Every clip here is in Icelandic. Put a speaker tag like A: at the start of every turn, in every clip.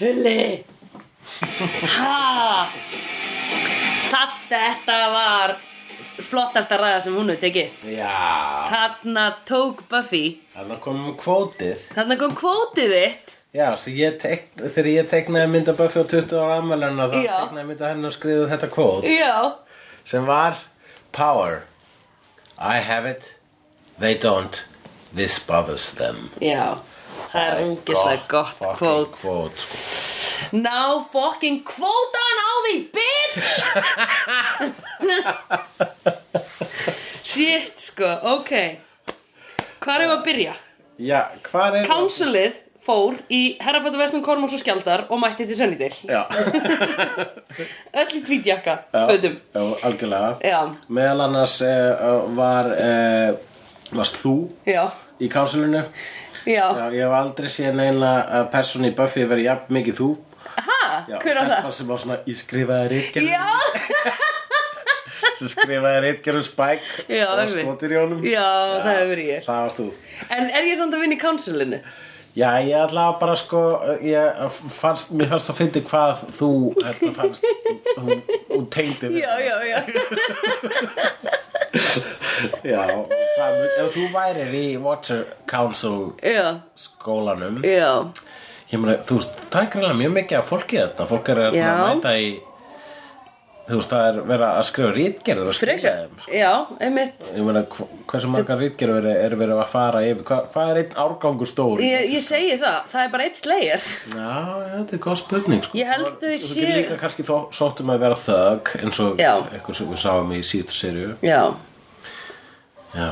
A: Hulli Ha Það, þetta var flottasta ræða sem hún hefur tekið
B: Já,
A: Þarna tók Buffy
B: þannig komum kvótið
A: Þarna kom kvótið þitt
B: Já, svo ég tek, þegar ég teknaði mynda Buffy á 20 ára afmæluna þá
A: Já.
B: teknaði mynda henni og skrifaði þetta kvót
A: Já
B: sem var Power I have it, they don't This bothers them
A: Já Það er ungislega gott
B: fucking
A: kvót
B: kvót sko.
A: Ná fucking kvótaðan á þig, bitch! Shit, sko, ok Hvar hefur að byrja?
B: Já, hvað er
A: Councilið fór í herrafættu vestum Kormáls og Skjaldar og mætti til Sönnidil
B: Já,
A: Öll í tvítjakka,
B: já,
A: fötum
B: já, algjörlega
A: Já,
B: Meðal annars uh, var uh, varst þú
A: já,
B: í kásulinu
A: já
B: Já, ég hef aldrei séð neina að persónu í Buffy verið jafn mikið þú
A: Ha,
B: Já,
A: hver á það?
B: stelpan sem var svona í skrifaði reitgerðum
A: Já,
B: sem skrifaði reitgerðum Spike
A: Já,
B: og
A: einmitt.
B: skotir í honum
A: Já, það hefur verið ég.
B: Það varst þú
A: en er ég samt að vinna í councilinu?
B: Já, ég allavega bara sko ég fannst, mér fannst að fyndi hvað þú þetta fannst hún, hún tengdi við
A: Já, já, já
B: Já, hvað, ef þú værir í Water Council
A: Já,
B: skólanum
A: já
B: Ég meina, þú veist, það er greinlega mjög mikið af fólki þetta Fólk er að
A: Já.
B: mæta í Þú veist, það er verið að skrifa rítgerður og skilja
A: Frekar,
B: þeim sko.
A: já, einmitt
B: Ég meina, hv- hversu margar rítgerður er, er verið að fara yfir Hva, Hvað er einn árgangur stór?
A: Ég, ég segi það, það er bara eitt slegir
B: Já, þetta er góð spurning sko.
A: Ég held þau
B: Þú
A: séu-
B: getur líka kannski þó sóttum að vera þögg eins og
A: Já.
B: eitthvað sem við sáum í síðustu serju
A: Já,
B: Já,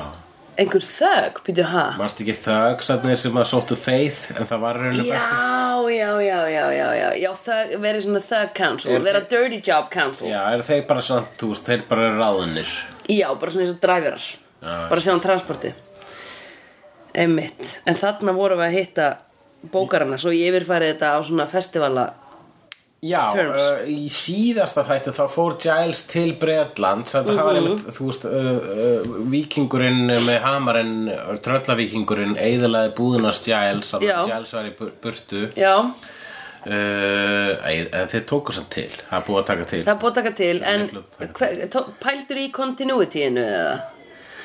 A: einhver þögg, býtu ha
B: manst ekki þögg sannig sem að sóttu feith en það var rauninu
A: Já, já, já, já, já, já Já, þögg, verið svona þögg council
B: Er-
A: Verið dirty job council
B: Já, eru þeir bara samt, þú veist, þeir bara ráðunir
A: Já, bara svona eins og dræfirar
B: Já.
A: Bara sjá um transporti Einmitt En þarna vorum við að hitta bókarana Svo ég yfirfærið þetta á svona festivala
B: Já,
A: Terms.
B: uh, í síðasta þætti þá fór Giles til Bretland þannig að það
A: Mhm.
B: var einmitt, þú veist uh, uh, vikingurinn með hamarinn uh, tröllavíkingurinn eðalaði búðunast Giles þannig
A: Já.
B: að Giles var í bur burtu uh,
A: Já,
B: ei- en þeir tóku samt til, það er búið að taka til
A: það er búið að taka til En
B: ég fljótt að taka
A: hver- tó- pældur í continuity-inu eða?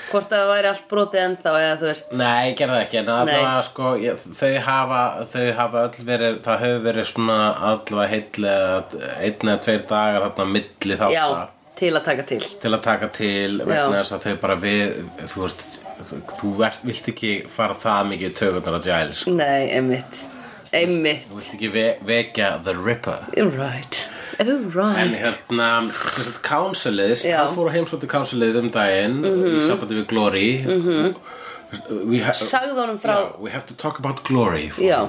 A: Hvort að það væri allt brotið ennþá eða þú veist
B: Nei, ég gerði það ekki, en allavega sko, ég, þau, hafa, þau hafa öll verið, það hefur verið svona allavega heitlega einn eða tveir dagar þarna á milli þáttar
A: Já, til að taka til
B: til að taka til vegna þess að þau bara við þú veist, þú ert, vilt ekki fara það mikið í tökunar að Giles
A: Nei, einmitt Einmitt
B: þú vilt ekki ve vekja The Ripper
A: All right All right
B: en hérna, sem sagt, Councilið
A: Já. Mhm.
B: hann fór á heimsóttu Councilið um daginn í sambandi við Glory mm -hmm. we, ha
A: Sagði honum frá
B: yeah, we have to talk about Glory for
A: Já,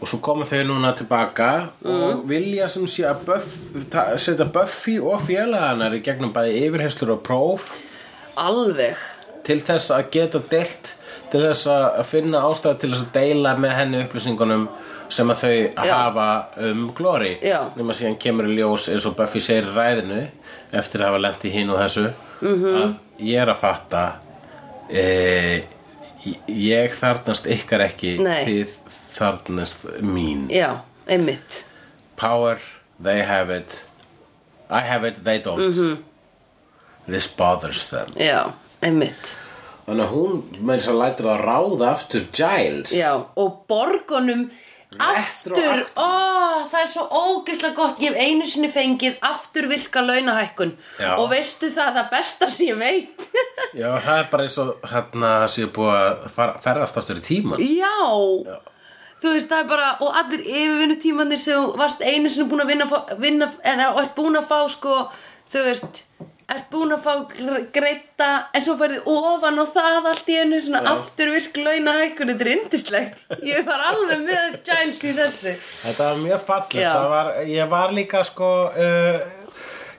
B: Og svo koma þau núna tilbaka
A: Mhm.
B: og vilja sem sé að Buff- ta- setja Buffy og félaganar í gegnum bæði yfirherslur og próf
A: alveg
B: til þess að geta deilt til þess að finna ástæðu til þess að deila með henni upplýsingunum sem að þau hafa um Glory
A: Já.
B: nema síðan kemur í ljós eins og Buffy segir í ræðinu eftir að hafa lent í hinn og þessu
A: Mhm.
B: -hmm. að ég er að fatta e, ég þarnast ykkar ekki
A: Nei.
B: þið þarnast mín
A: Já, einmitt
B: power, they have it I have it, they don't
A: Mhm.
B: -hmm. this bothers them
A: Já, einmitt
B: Þannig að hún með þess að lætur það ráða aftur Giles
A: Já, og borgunum aftur
B: Retroaktív.
A: Ó, það er svo ógeðslega gott Ég hef einu sinni fengið aftur virka launahækkun
B: Já.
A: Og veistu það, það besta sem ég veit
B: Já, það er bara eins og hérna sem ég búið að fara, ferðast aftur í tíman
A: Já.
B: Já.
A: Þú veist, það er bara, og allir yfirvinnutímanir sem þú varst einu sinni búin að vinna, fá- vinna en, og ert búin að fá, sko, þú veist, ert búin að fá gr- greita, en svo færið ofan og það allt í einu, svona afturvirk launa hækkun, þetta er indislegt. Ég var alveg með Giles í þessu.
B: Þetta var mjög fallegt
A: Já.
B: Það var, Ég var líka sko uh,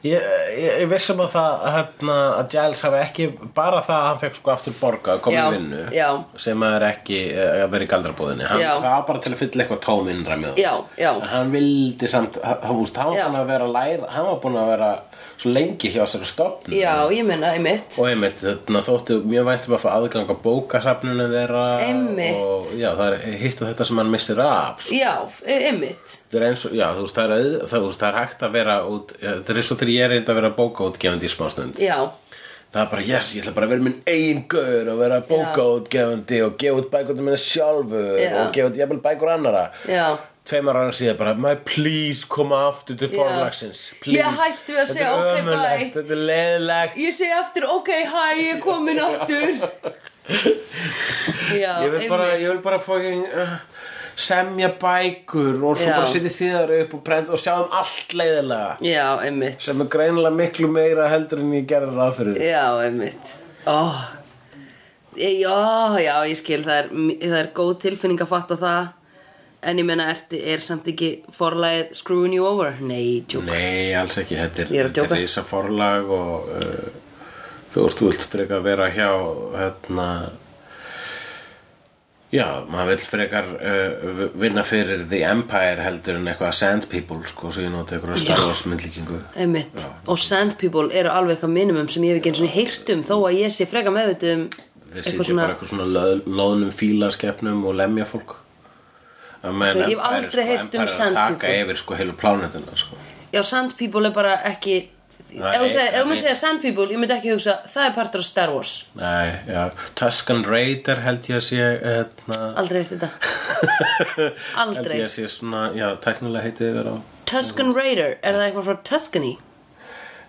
B: ég, ég, ég vissum að það hérna, að Giles hafi ekki bara það að hann fekk sko aftur borga að koma
A: Já,
B: í vinnu
A: já.
B: sem er ekki eh, að vera í galdrabúðinni hann,
A: Já.
B: það var bara til að fylla eitthvað tóm innræmið
A: Já, já.
B: en hann vildi samt hann, hann, veist, hann var
A: Já.
B: búin að vera að læra hann var búin að vera svo lengi hjá sér að stopna
A: Já, ég meina, einmitt
B: Mm. og einmitt, þarna þóttu mjög væntum að fá aðgang að bókasafninu þeirra
A: Einmitt.
B: og já, það er hitt og þetta sem hann missir af sko.
A: Já, e, einmitt
B: það er eins og, já, þú veist, það er, auð, það, þú veist, það er hægt að vera út, ja, það er eins og þegar ég er reynd að vera bókaútgefandi í smástund
A: Já,
B: það er bara, yes, ég ætla bara að vera minn eigin gaur og vera bókaútgefandi og gefa út bækurnar minna sjálfur
A: Já.
B: og gefa út jafnvel bækur annara
A: já
B: tveimar ára síðan bara my please koma aftur til forlagsins please.
A: Ég hætti við að segja,
B: þetta
A: "Ok,
B: er ömurlegt,
A: bye."
B: þetta er leðilegt
A: Ég segi aftur, ok, hæ, ég er komin aftur Já,
B: ég vil bara, ég vil bara fucking uh, semja bækur og svo
A: Já.
B: bara setja þýðar upp og prenta og sjá um allt leiðilega
A: Já, einmitt
B: sem er greinilega miklu meira heldur en ég gerði ráð fyrir
A: Já, einmitt oh. Já, já, ég skil það er, það er góð tilfinning að fatta það En ég meina, er, er samt ekki forlægið screwing you over? Nei,
B: Mm.
A: tjúk
B: nei, alls ekki, þetta
A: Ég er
B: er,
A: að
B: þetta er
A: djóka.
B: reysa forlag og uh, þú veist, þú vilt frekar vera hjá hérna já, maður vill frekar uh, vinna fyrir The Empire heldur en eitthvað Sand People sko, svo ég nota eitthvað Star Wars myndlíkingu
A: Einmitt, og sand people eru alveg eitthvað minimum sem ég hef ekki einu svona heyrt um þó að ég sé freka meðvitið um
B: Þeir sitja bara eitthvað svona löð- loðnum fílaskeppnum og lemja fólk Men,
A: Ok, ég hef aldrei heyrt um
B: sko, Það
A: sandpípu.
B: taka yfir sko heilu plánetuna sko.
A: Já, sand people er bara ekki
B: Nei,
A: Ef þú segir- ef
B: nei.
A: maður segja sand people, ég myndi ekki hugsa það er partur af Star Wars
B: Nei, já Tuscan Raider held ég að sé hérna,
A: Aldrei heyrt þetta
B: Held
A: Aldrei
B: ég að sé svona, já, teknilega heiti yfir á
A: Tuscan Raider, er það eitthvað frá Tuscany?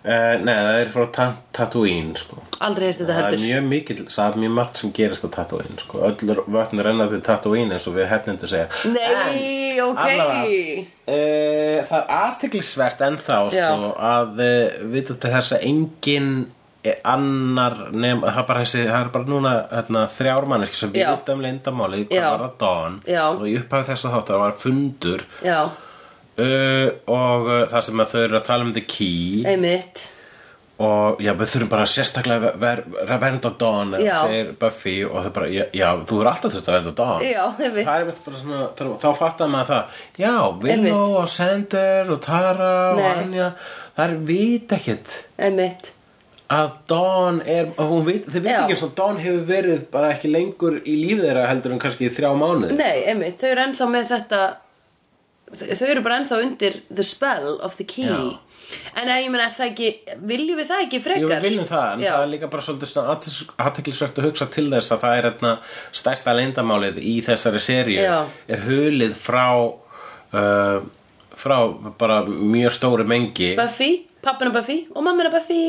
B: Uh, nei, það er frá ta Tatooine sko.
A: Aldrei heyrt þetta
B: Það er
A: heldur
B: mjög mikil, það er mjög margt sem gerist á Tatooine sko. Öll vötn renna til Tatooine eins og við hefnindu segja
A: Nei, ok
B: Allavega, e, það er aðtiklisvert ennþá
A: Já.
B: sko, að e, vita til þess að engin e, annar nema, það er bara, þessi, það er bara núna hérna, þrjármanniski sem
A: Já.
B: vita um leyndamálið
A: Já.
B: hvað var að Don
A: Já.
B: og í upphafi þess að þáttar var fundur
A: Já,
B: uh, og uh, það sem að þau eru að tala um The Key
A: einmitt
B: og já, við þurfum bara sérstaklega að ver, ver, að vernda Don eða
A: Já.
B: segir Buffy og það er bara, já, já þú er alltaf þurft að vernda Don
A: Já, einmitt.
B: það er mitt bara svona, þá, þá fattar maður það já, Willow
A: Einmitt.
B: og Sander og Tara og
A: Nei.
B: Anja það er vit ekkert
A: Einmitt
B: að Don er að hún vit, þið veit
A: Já.
B: ekki eins og Don hefur verið bara ekki lengur í lífið þeirra heldur en kannski í þrjá mánuð
A: Nei, einmitt, þau eru ennþá með þetta þau þau eru bara ennþá undir the spell of the key
B: Já.
A: En að ég meina, er það ekki viljum við það ekki
B: Jú,
A: frekar?
B: við viljum það, en
A: Já.
B: það er líka bara svolítið svona athyglis- athyglisvert að hugsa til þess að það er hérna stærsta leyndamálið í þessari seríu
A: Já.
B: er hulið frá uh, frá bara mjög stóri mengi
A: Buffy, pappina Buffy og mammina Buffy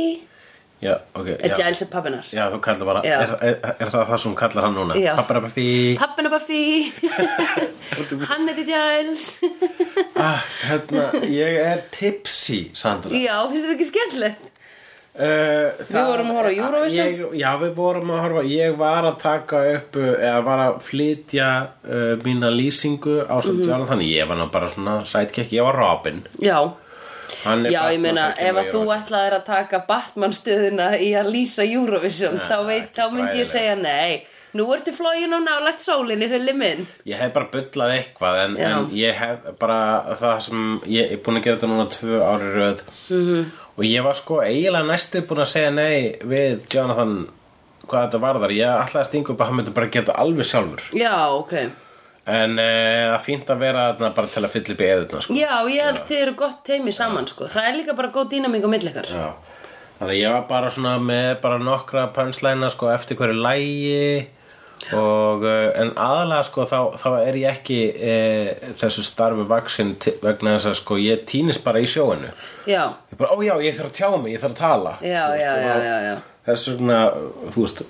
B: já, ok,
A: Er
B: já,
A: Giles er pappinar?
B: já, þú kallar bara
A: Já.
B: er, er, er það það sem hún kallar hann núna?
A: Já.
B: Papparabafi
A: Pappina Buffy Hann heiti Giles
B: ah, hérna, ég er tipsy, Sandra
A: Já, finnst þetta ekki skemmtilegt?
B: Uh, það-
A: vorum að horfa á Eurovision?
B: ég, Já, við vorum að horfa Ég var að taka upp uh, eða var að flytja uh, mína lýsingu á samt
A: Mhm.
B: Jonathan Þannig ég var nú bara svona sidekick Ég var Robin
A: Já,
B: Hann er
A: já
B: Batman
A: ég meina, ef
B: sem kemur
A: að
B: í
A: þú
B: Eurovision.
A: ætlaðir að taka Batman stöðuna í að lýsa Eurovision þá, veit,
B: ekki
A: þá myndi ég
B: fræðilegt.
A: segja nei Nú ertu flógin og nálægt sólinni, hulli minn
B: Ég hef bara bullað eitthvað en,
A: Já.
B: en ég hef bara það sem Ég er búin að gera þetta núna tvö ári röð
A: Mhm.
B: -hmm. Og ég var sko eiginlega næstu búin að segja nei Við Jonathan Hvað þetta varðar Ég ætlaði að stinga upp að hann myndi bara geta alveg sjálfur
A: Já, ok
B: En eh, það er fínt að vera þarna bara til að fylla upp í eðurna sko.
A: Já, ég held þið eru gott teimi saman sko. Það er líka bara góð dýnamík á millikar
B: Já. Þannig að ég var bara svona með bara nokkra pönslæna sko eftir hverju lægi og eh, en aðalega sko þá, þá er ég ekki e, þessu starfi vaksin vegna þess að sko ég týnist bara í sjóinu
A: Já,
B: ég bara, ó já, ég þarf að tjá mig, ég þarf að tala
A: já,
B: Þú veist,
A: já,
B: og
A: já,
B: þá-
A: já, já.
B: þess vegna, þú veist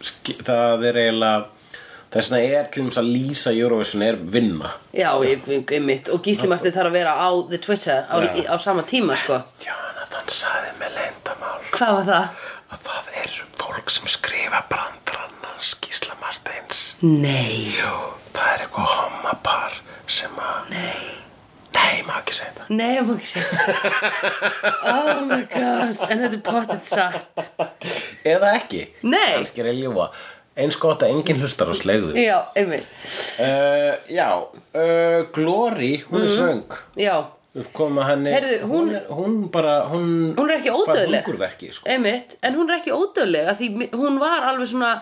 B: ski- það er eiginlega þess vegna er til þess að lýsa Eurovision er vinna
A: Já, ég, ég, ég mitt Og Gísli Martin þarf að vera á The Twitter á, í, á sama tíma sko.
B: Jonathan saði með leyndamál
A: Hvað var það?
B: að það er fólk sem skrifa brandrannans Gísla Martins
A: Nei
B: Jú, það er eitthvað homapar sem að Nei Nei Nei, maður ekki segja þetta
A: Nei, ég má ekki segja það. Oh my god, en þetta er pottet satt
B: Eða ekki
A: Nei.
B: Kannski er ég að ljúfa Eins gott að enginn hlustar á slegðu uh,
A: Já, einmitt
B: Já, uh, Glory, hún er svöng
A: Já,
B: Við komum að henni
A: Mhm. Heyrðu, hún-
B: hún, er, hún bara Hún,
A: hún er ekki ódöðleg
B: hungurverki sko.
A: Einmitt, en hún er ekki ódöðleg af Því mi- hún var alveg svona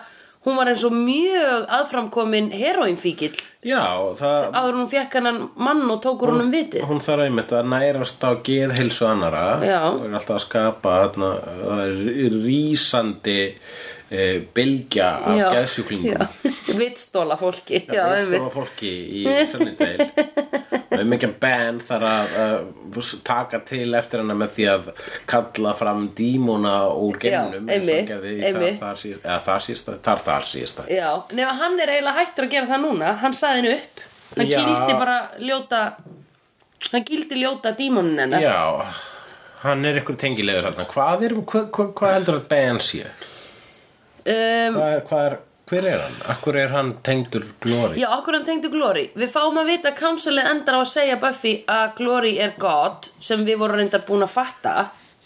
A: Hún var eins og mjög aðframkomin heroinfíkil
B: Já, það
A: Áður en hún fekk hennan mann og tókur honum vitið
B: Hún þarf einmitt að nærast á geðheilsu annara
A: Já.
B: og er alltaf að skapa þarna, það er rísandi e, bylgja af
A: Já,
B: geðsjúklingum
A: já. Vitstóla fólki Já, einmitt
B: viðstofa fólki í Sunnydale og er mikið band þar að uh, taka til eftir hana með því að kalla fram dímona úr geimnum
A: Já,
B: eins og
A: einmitt,
B: gerði í
A: einmitt.
B: þar- þar síðast- eða þar síðasta þar þar síðasta
A: Já, nema hann er eiginlega hættur að gera það núna Hann saði henni upp Hann
B: Já.
A: gildi bara ljóta Hann gildi ljóta dímonin hennar
B: já, hann er ykkur tengilegur hérna hvað, er, hva, hva, hvað heldur að band sé
A: um,
B: hvað er, hvað er, hver er hann akkur er hann tengdur glóri
A: Já, okkur hann tengdu Glory Við fáum að vita að Counselið endar á að segja Buffy að Glory er God sem við vorum reyndar búin að fatta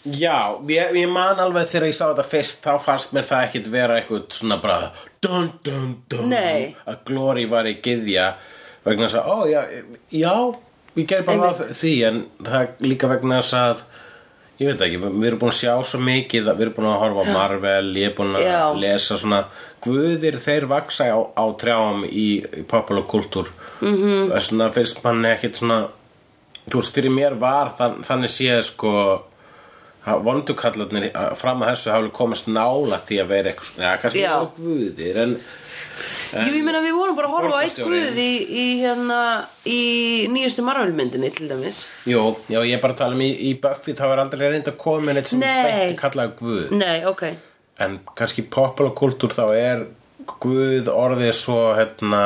B: Já, ég, ég man alveg þegar ég sá þetta fyrst þá fannst mér það ekkit vera eitthvað svona bara dun, dun, dun,
A: Nei.
B: að Glory var í gyðja vegna þess að, ó já, já ég gerði bara ráð því en það er líka vegna þess að ég veit ekki, við erum búin að sjá svo mikið við erum búin að horfa á Marvel, ég er búin að
A: Já.
B: lesa svona guðir þeir vaksa á, á trjáum í, í popular kultúr mm
A: Mhm.
B: -hmm. þess vegna finnst manni ekkit svona þú veist, fyrir mér var þann, þannig séð sko ha- vondukallarnir eh, fram að þessu hafa komast nála því að vera eitthvað svona, ja, kannski
A: Já.
B: ekki guðir en
A: Jú, ég meina við vorum bara að horfa á eitt
B: Borgarstjóri.
A: guð í, í, hérna, í nýjustu marvelmyndinni til dæmis
B: jú, já, ég er bara að tala um í, í Buffy þá er aldrei reynd að koma með neitt sem
A: Nei.
B: beinti kallaði guð
A: Nei, ok
B: en kannski populakultúr þá er guð orðið svo hérna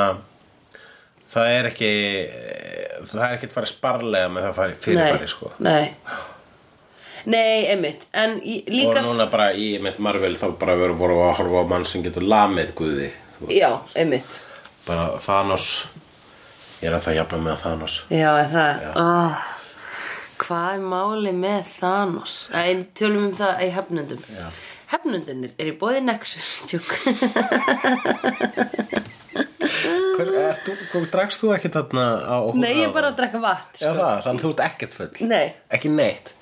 B: það er ekki eh, það er ekkert farið sparlega með það farið
A: Nei,
B: fyrirbæri sko
A: nei Nei, einmitt En í- líka
B: og núna bara í mitt Marvel þá bara voru, voru að horfa á mann sem getur lamið guði þú sko. veist.
A: Já, einmitt
B: bara Thanos ég er að það jafna með Thanos
A: Já, er það oh, Hvað er máli með Thanos? Nei, tölum um það í hefnundum Já. Hefnundinir er í bóði Nexus tjúk.
B: Hver, er, þú, þú, dragst þú ekkert þarna á hún
A: Nei, ég er bara að drekka vatn
B: Já
A: sko.
B: það, þannig þú ert ekkert full
A: Nei,
B: Ekki neitt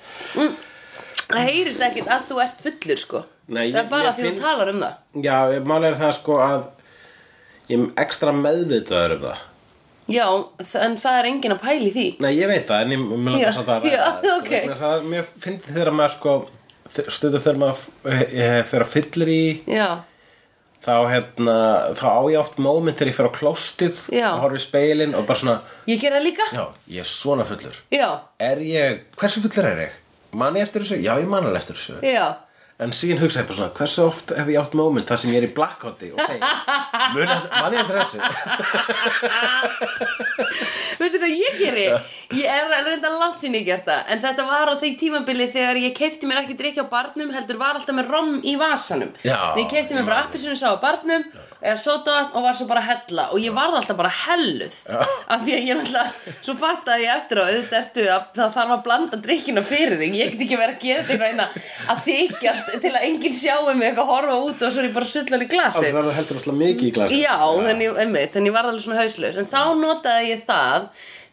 A: það heyrist ekkit að þú ert fullur sko.
B: Nei,
A: Það
B: ég-
A: er bara
B: ég
A: því
B: finn-
A: þú talar um það
B: Já, ég- mál er það sko að ég er ekstra meðvitaður um það
A: Já, þ- en það er engin að pæli því
B: Nei, ég veit það, en ég mér
A: Já,
B: langar satt að ræða
A: já,
B: það, sko,
A: ok.
B: vegna þess að Mér fyndi þegar maður sko stundu þegar maður eh, eh, fer að fyllir í
A: Já,
B: þá hérna, þá á ég oft moment þegar ég fer á klóstið
A: Já.
B: og horfi í speilin og bara svona,
A: ég gera það líka
B: já, ég er svona fullur
A: Já,
B: er ég, hversu fullur er ég? Man ég eftir þessu? Já, ég man alveg eftir þessu
A: já,
B: En síðan hugsa ég bara svona, hversu oft hef ég átt moment þar sem ég er í blackouti og segi "Mun eftir- Man ég eftir þessu?
A: Veistu hvað ég geri? Ég er reynda langt sinni gert það En þetta var á þeim tímabili þegar ég keipti mér ekki drikja á barnum Heldur var alltaf með rom í vasanum
B: Já,
A: Þegar ég keipti mér bara appisinu sá á barnum Eða sótaðan og var svo bara að hella Og ég varð alltaf bara helluð
B: Já.
A: Af því að ég náttúrulega Svo fattaði ég eftir á auðvitað ertu að Það þarf að blanda drikkina fyrir þig Ég get ekki verið að gera þetta eitthvað einna Að þykjast til að enginn sjáum mig eitthvað horfa út Og svo er ég bara sullan í
B: Það
A: glasið
B: er alveg heldur alltaf mikið í glasi
A: Já, þannig, einmitt, þannig ég var alveg svona hauslaus En þá notaði ég það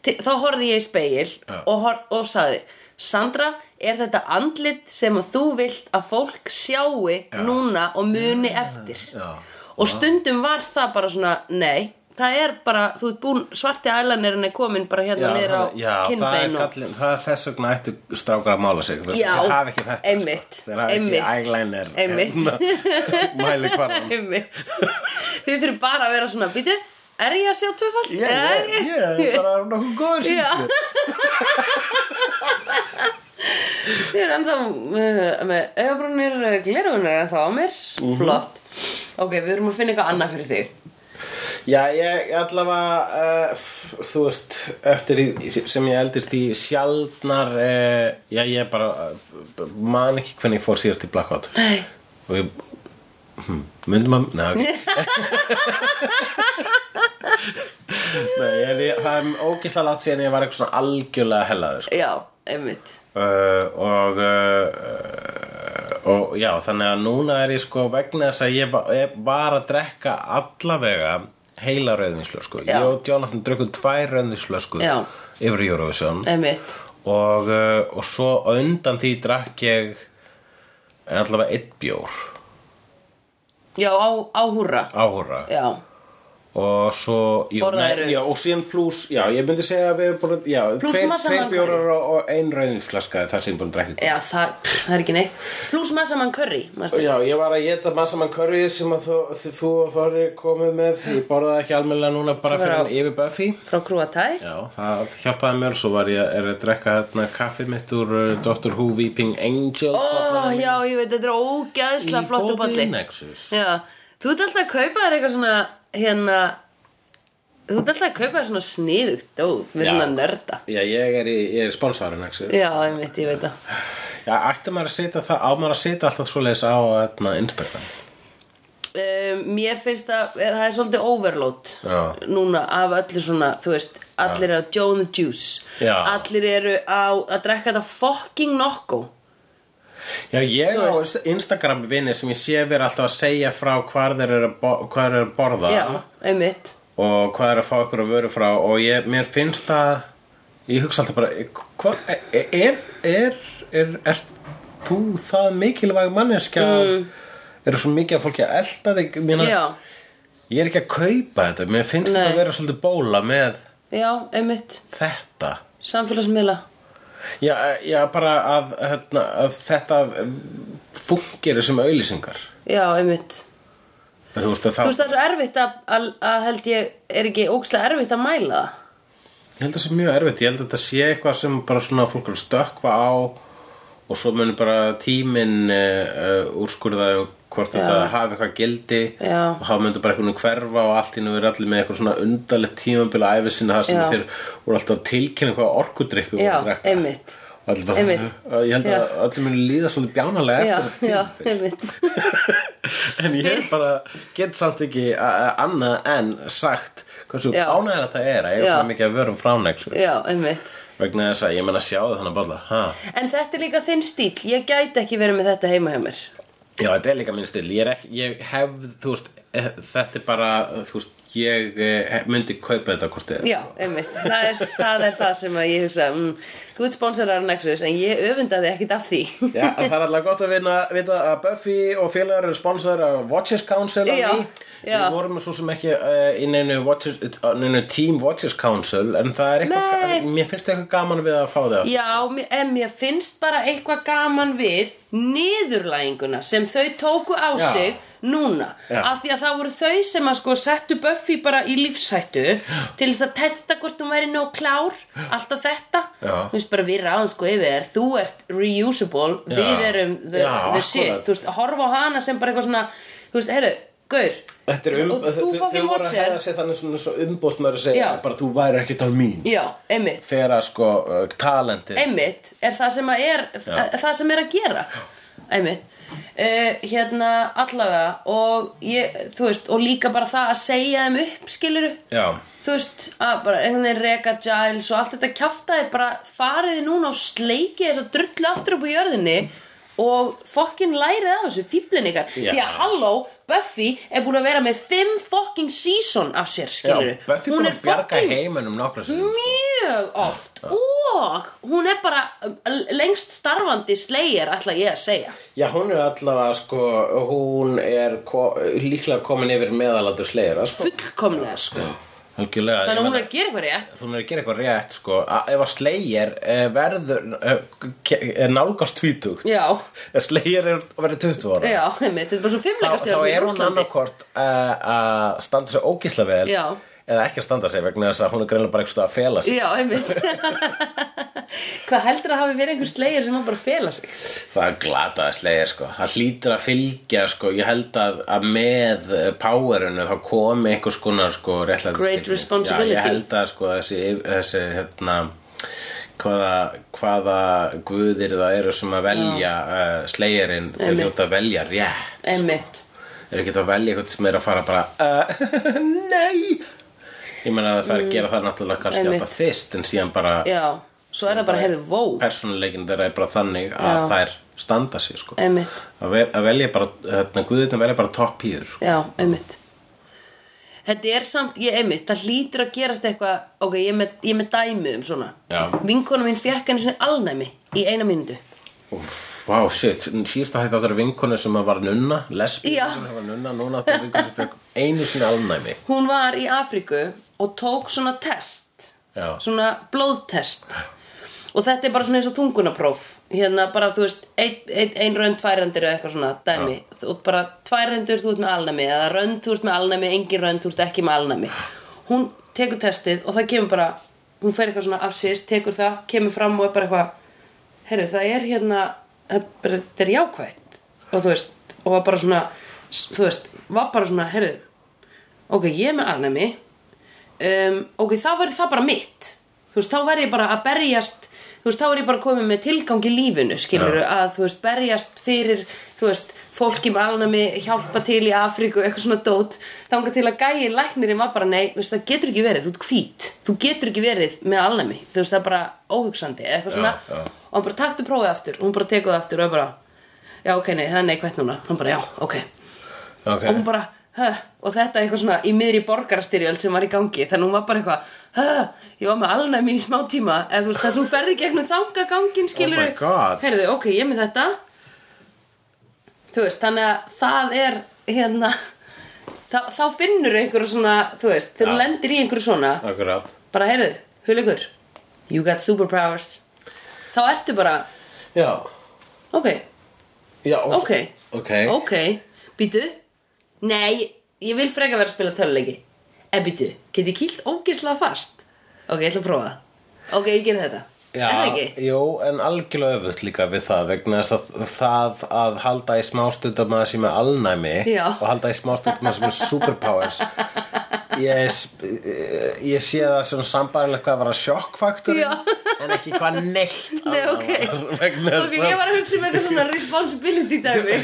A: til, Þá horfði ég í speil
B: Já.
A: og, hor, og sagði Sandra, er þetta andlit sem að þú vilt að fólk sjái núna og muni eftir
B: Já.
A: Og stundum var það bara svona, nei Það er bara, þú ert búin, svarti ælanirinn er komin bara hérna
B: Já,
A: niður á
B: það, já það, er
A: kinnbein og
B: kallin, það er þess vegna ættu strákar að mála sig þess,
A: Já,
B: þeir hafa ekki þetta
A: einmitt,
B: sko. þeir hafa
A: einmitt,
B: ekki eyeliner hérna,
A: einmitt.
B: mæli hvarðan
A: Einmitt. Þið þurfum bara að vera svona, býtu, er ég að sjá tvöfald?
B: ég ég- ég er bara nokkuð góður sínslu
A: Þið eru ennþá uh, með augabrúnir uh, glerugunir er ennþá á mér
B: Mhm.
A: Flott Ok, við erum að finna eitthvað annað fyrir þig
B: Já, ég allavega, uh, þú veist, eftir því sem ég eldist í sjaldnar, uh, já, ég bara uh, man ekki hvernig ég fór síðast í Blackout.
A: Nei
B: Og ég, Hmm, hm, myndum að, neða, ok. Nei, ég, er- það er ógislega látt síðan ég var eitthvað svona algjörlega hellaður sko.
A: Já, einmitt
B: uh, og, uh, og já, þannig að núna er ég sko vegna þess að ég ba- ég var að drekka allavega heila rauðvinslösku
A: Já.
B: ég og Jonathan drukkum tvær rauðvinslösku
A: Já. Eh.
B: yfir Eurovision
A: Einmitt
B: og, uh, og svo á undan því drakk ég allavega eitt bjór
A: Já, á, á húrra
B: áhúra
A: Já,
B: og svo jú,
A: Borðaðirðu?
B: nei, já, og síðan pluss, já, ég myndi segja að við erum búin að, já,
A: Plús
B: tveir,
A: massa
B: tveir
A: mangari.
B: bjórar og, og ein rauðinflaska þar sem ég er búin að drekka í kvöld.
A: já það, pff, það er ekki neitt Plus massamann curry, manstu
B: Já, ég var að geta massamann curry sem að þú, þið- þú og Þorri komið með ég borðaði ekki almennilega núna
A: Það
B: bara
A: var
B: fyrir
A: á-
B: hann yfir Buffy
A: Frá Krúatæ
B: Já, það hjálpaði mér svo var ég er að drekka hérna kaffið mitt úr uh, Dr. Who Weeping Angel
A: Ó, já,
B: hérna.
A: ég veit, þetta er ógæðslega flottu bolli
B: Nexus
A: Já, þú ert alltaf að kaupa þér eitthvað svona hérna Þú ert alltaf að kaupa þér svona sniðugt dót Við
B: Já.
A: svona nörda
B: Já, ég er, í- ég er sponsorinn Nexus
A: Já, einmitt, ég veit það
B: Já, ætti maður að setja það, á maður að setja alltaf svoleiðis á hérna, Instagram
A: um, Mér finnst að er, það er svolítið overload
B: Já.
A: Núna af öllu svona, þú veist Allir eru að Joe and the Juice
B: Já.
A: Allir eru á, að drekka þetta fucking nokko
B: Já, ég
A: Þú
B: á Instagram vinni sem ég sé vera alltaf að segja frá hvar þeir eru að, bo hvar þeir eru að borða
A: Já, einmitt
B: og hvað er að fá ykkur að vöru frá og ég, mér finnst að ég hugsa alltaf bara hva, er, er, er, er, þú það mikilvæg manneskja mm. eru svo mikið að fólki að elta þig mína,
A: Já,
B: ég er ekki að kaupa þetta mér finnst
A: Nei.
B: þetta að vera svolítið bóla með
A: já, einmitt
B: þetta
A: Samfélagsmiðla
B: já, já bara að, hérna, að þetta fungeri sem auðlýsingar
A: Já, einmitt
B: þú veist að
A: Þú
B: það
A: veist það er svo erfitt að, að, að held ég Er ekki ókslega erfitt að mæla það
B: Ég held að það sé mjög erfitt, ég held að þetta sé eitthvað sem bara svona fólk er að stökkva á og svo muni bara tíminn uh, úrskurða um hvort þetta hafi eitthvað gildi
A: Já.
B: og þá myndi bara eitthvað hverfa og allt innu verið allir með eitthvað svona undarlegt tímambila æfi sinna það sem
A: Já.
B: þeir voru alltaf að tilkynna eitthvað orkudrykku
A: Já,
B: og drekka.
A: einmitt
B: Og allir bara,
A: einmitt.
B: Ég held að
A: Já.
B: allir muni líða svolítið bjánalega
A: Já,
B: eftir
A: já,
B: þetta tímabil.
A: einmitt
B: en ég bara get samt ekki a- a- annað en sagt hversu
A: Já.
B: ánægða það er að ég er
A: Já.
B: svona mikið að vörum fránegsu
A: Já, einmitt
B: vegna þess að ég menna sjáðu þannig bolla ha.
A: En þetta er líka þinn stíl, ég gæti ekki verið með þetta heima hjá mér
B: já, þetta er líka minn stil ég, er ekki, ég hef, þú veist eh, þetta er bara, þú veist, ég eh, myndi kaupa þetta hvort þið
A: Já, einmitt, það er það, er það sem að ég hugsa mm, Þú ert sponsorar Nexus en ég öfundaði ekkit af því
B: Já, það er alltaf gott að vinna, vita að Buffy og félagar eru sponsor af Watchers Council á
A: Já,
B: ný.
A: já.
B: Við vorum svo sem ekki uh, í neinu, Watchers, uh, neinu Team Watchers Council en það er eitthvað,
A: Nei.
B: mér finnst eitthvað gaman við að fá það
A: Já, mér- en mér finnst bara eitthvað gaman við niðurlæginguna sem þau tóku á
B: Já.
A: sig núna
B: Já.
A: af því að það voru þau sem að sko settu Buffy bara í lífshættu til þess að testa hvort hún væri nóg klár alltaf þetta,
B: Já.
A: þú veist bara við ráðum sko yfir þér, þú ert reusable
B: Já.
A: við erum the,
B: Já,
A: the shit
B: akkurat.
A: þú veist, horfa á hana sem bara eitthvað svona þú veist, heyrðu, gaur
B: Þetta er um,
A: Og þú
B: þau- þau
A: fucking
B: voru að
A: Watcher.
B: hefða sér þannig svona svo umbóstmöður að segja
A: Já.
B: bara þú væri ekkert á mín
A: já, einmitt
B: þegar að sko uh, talentið
A: einmitt er það sem, að er, það sem er að gera einmitt uh, hérna allavega og, ég, þú veist, og líka bara það að segja þeim upp skiluru
B: Já,
A: þú veist að bara einhvern veginn reka Giles og allt þetta kjaftaði bara fariði núna og sleikið þess að drullu aftur upp á jörðinni og fokkin lærið af þessu fíblin ykkar
B: Já.
A: því að halló Buffy er búin að vera með fimm fokkin season af sér
B: já
A: skiluru
B: Buffy búin að bjarga heiminum nokkra sem
A: mjög oft og hún er bara uh, lengst starfandi slegir ætla ég að segja
B: Já, hún er allavega sko hún er ko líklega komin yfir meðalatur sleira sko.
A: fullkomlega sko
B: Algjörlega,
A: þannig
B: ég
A: að hún er að
B: meina-
A: gera eitthvað rétt
B: Þú er að gera eitthvað rétt sko A Ef að Slayer eh, verður eh, ke- er nálgast tvítugt
A: já,
B: Ef Slayer er að verða 20 ára
A: já, einmitt, þetta er bara svo
B: þá,
A: fimmleikastjörn
B: þá er hún annarkort eh, að standa sér ógísla vel
A: Já.
B: eða ekki að standa sér vegna þess að hún er greinlega bara eitthvað að fela sig
A: já, einmitt hvað heldur að hafi verið einhver slegir sem hann bara fela sig
B: Það glataði slegir sko Það hlýtur að fylgja sko Ég held að, að með eh, powerinu þá komi einhvers konar sko réttlæti
A: Great responsibility.
B: Já, Ég held að sko þessi, þessi hérna hvaða, hvaða guðir það eru sem að velja uh, slegirinn þau
A: Einmitt.
B: hljóta að velja rétt
A: einmitt
B: Þeir eru ekki að velja eitthvað sem er að fara bara uh, "Eh, Nei ég meina að það er að gera það náttúrulega kannski
A: Mm. Einmitt.
B: alltaf fyrst en síðan bara
A: já, svo er það bara, heyrðu, vó
B: persónuleikin þeirra er bara þannig að
A: Já.
B: þær standa sig sko.
A: einmitt,
B: að, vel, að velja bara hérna, guðirna velja bara topp pýr sko.
A: já, einmitt þetta er samt, ég einmitt það hlýtur að gerast eitthvað ok, ég er með, ég er með dæmi um svona
B: Já.
A: vinkona mín fekk henni svona alnæmi í eina mínútu
B: Vá, wow, shit, síðast að þetta áttur vinkonu sem var nunna, lesbí
A: Já.
B: sem var nunna, núna áttur vinkonu sem fekk einu sinni alnæmi
A: hún var í Afríku og tók svona test
B: Já.
A: svona blóðtest og þetta er bara svona eins og þungunapróf hérna bara þú veist ein, ein, ein rönd tværendir eða eitthvað svona dæmi og bara tværendur þú ert með alnæmi eða rönd þú ert með alnæmi, engin rönd þú ert ekki með alnæmi hún tekur testið og það kemur bara hún fer eitthvað svona af sér, tekur það, kemur fram og er bara eitthvað herru það er hérna það er bara- þetta er jákvætt og þú veist, og var bara svona þú veist, var bara svona, herru ok, ég er með alnæmi um, ok, þá verður það bara mitt þú veist, þá verður ég bara að berjast þú veist, þá er ég bara komið með tilgang í lífinu skilur að, þú veist, berjast fyrir þú veist, fólki með alnæmi hjálpa til í Afríku, eitthvað svona dót þangað til að gæin læknirinn var bara nei, þú veist, það getur ekki verið, þú ert hvít þú getur ekki verið með alnæmi þú veist, það er bara óhugsandi, eða eitthvað svona
B: já.
A: og hann bara taktu prófið aftur, og hún bara tekuð aftur og er bara, já, ok, nei, það er neikvætt núna hann bara, já, ok,
B: Ok,
A: og hún bara Huh, og þetta er eitthvað svona í miðri borgarastyrjöld sem var í gangi þannig hún var bara eitthvað huh, ég var með alnæmi í smá tíma eða þú veist þess að hún ferði gegnum þanga gangin skilur
B: Oh my God.
A: heyrðu, ok, ég er með þetta þú veist, þannig að það er hérna þá, þá finnur einhverju svona þú veist, þegar
B: Já.
A: hún lendir í einhverju svona
B: akkurat
A: bara heyrðu, huligur you got superpowers þá ertu bara,
B: Já,
A: ok,
B: já og-
A: Ok.
B: Ok,
A: Ok, býtu Nei, ég vil freka vera að spila töluleiki En býtu, get ég kýlt ógeðslega fast? Ok, ég ætla að prófa það Ok, ég gerði þetta
B: Já,
A: Er það ekki?
B: jú, en algjörlega öfutt líka við það vegna þess að það að halda í smástund að maður sé með alnæmi
A: Já.
B: og halda í smástund að maður sé með superpowers ég, s- ég sé það sem sambarilegt hvað var að sjokkfaktur
A: Já.
B: en ekki hvað neitt
A: Nei,
B: annað
A: ok.
B: var, vegna
A: Ok,
B: þess
A: ég
B: að
A: var að hugsa um eitthvað svona responsibility dæmi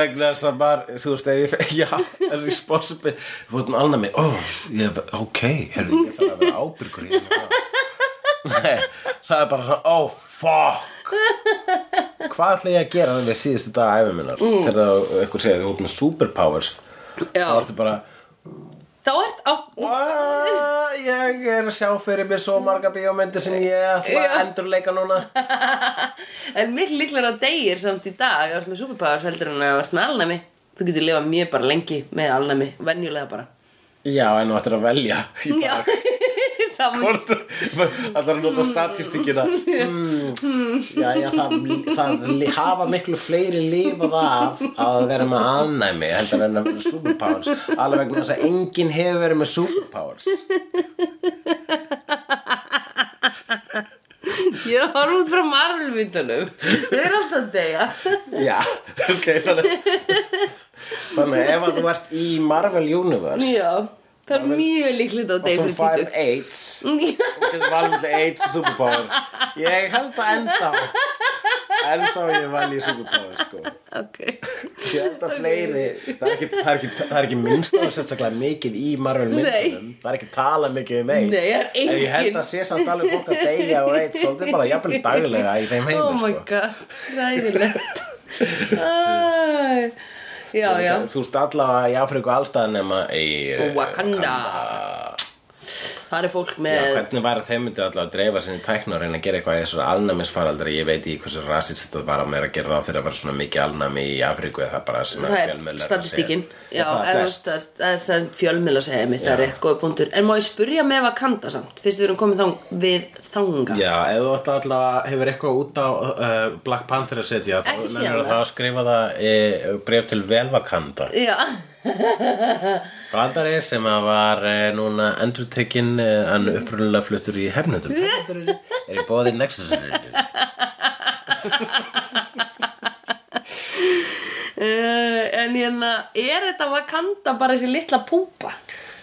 B: vegna þess að bara, þú veist, ef ég fe- já, er responsible, þú veist, alveg mig ó, ég, ok, herru, ég þarf að vera ábyrgur í hérna nei, það er bara svona, ó, fuck hvað ætla ég að gera þannig að síðustu dag æfum minnar mm. þegar eitthvað segja, þú ert með superpowers
A: Já.
B: þá ertu bara,
A: Þá ert á
B: "What? ég er að sjá fyrir mér svo marga bíómyndir sem ég ætla að
A: Já.
B: endurleika núna
A: En mér líklar á degir samt í dag Ég vart með superpowers heldur en að ég vart með alnæmi Þú getur lifað mjög bara lengi með alnæmi Venjulega bara
B: já, en þú ættir að velja í dag
A: Já Það mun
B: hvort allar að nota statistikina mm. já, já, það, það li- hafa miklu fleiri lifað af að vera með alnæmi heldur en að vera með superpowers alveg vegna þess að enginn hefur verið með superpowers
A: Ég er að horfa út frá Marvel-myndunum Þau eru alltaf að degja
B: já, ok, þannig þannig ef að þú ert í Marvel Universe
A: Já Það er mjög líklegt á degi
B: og þú
A: fyrir
B: fær
A: tvítugt
B: AIDS
A: Já,
B: þú getur valið með AIDS og superpower ég held að enda ennþá ég valið superpower sko
A: ok
B: Ég held að fleiri það er, ekki, það, er ekki, það er ekki minnst og sérstaklega mikið í Marvel myndunum Það er ekki tala mikið um AIDS
A: Nei, það er
B: En ég held
A: engin.
B: að sé samt alveg fólk að deyja og AIDS Svolítið bara jafnvel daglega í þeim
A: Oh
B: heimur
A: my
B: sko.
A: god, ræðilegt Æ, Já, já
B: Þú veist allavega í Afríku allstað nema í eh,
A: Wakanda Eh. Það er fólk
B: Já,
A: með
B: hvernig var að þeim myndi allavega að dreifa sinni tækna og reyna að gera eitthvað í þessar alnæmisfaraldri ég veit í hversu rasist þetta var að meira að gera ráð fyrir að vera svona mikið alnæmi í Afríku eða það bara sem
A: Það er
B: fjölmiðlar að segja.
A: statistíkin Já,
B: það
A: er
B: er
A: þú veist,
B: flest
A: það er- það er sem fjölmiðla segja mig, það er eitthvað góð punktur En má ég spyrja með Vakanda samt, fyrst við erum komið þang við þanga
B: Já, ef þú ætla alltaf hefur eitthvað út á uh, Black Panther að setja þá
A: Ekki séð
B: nennirðu
A: það.
B: þá að skrifa það e, bref til Velvakanda
A: Já.
B: Brandari sem að var e, núna endurtekinn e, en upprunalega fluttur í hefnundum er í bóði Nexus
A: Uh, en hérna, er þetta Wakanda bara þessi litla púpa?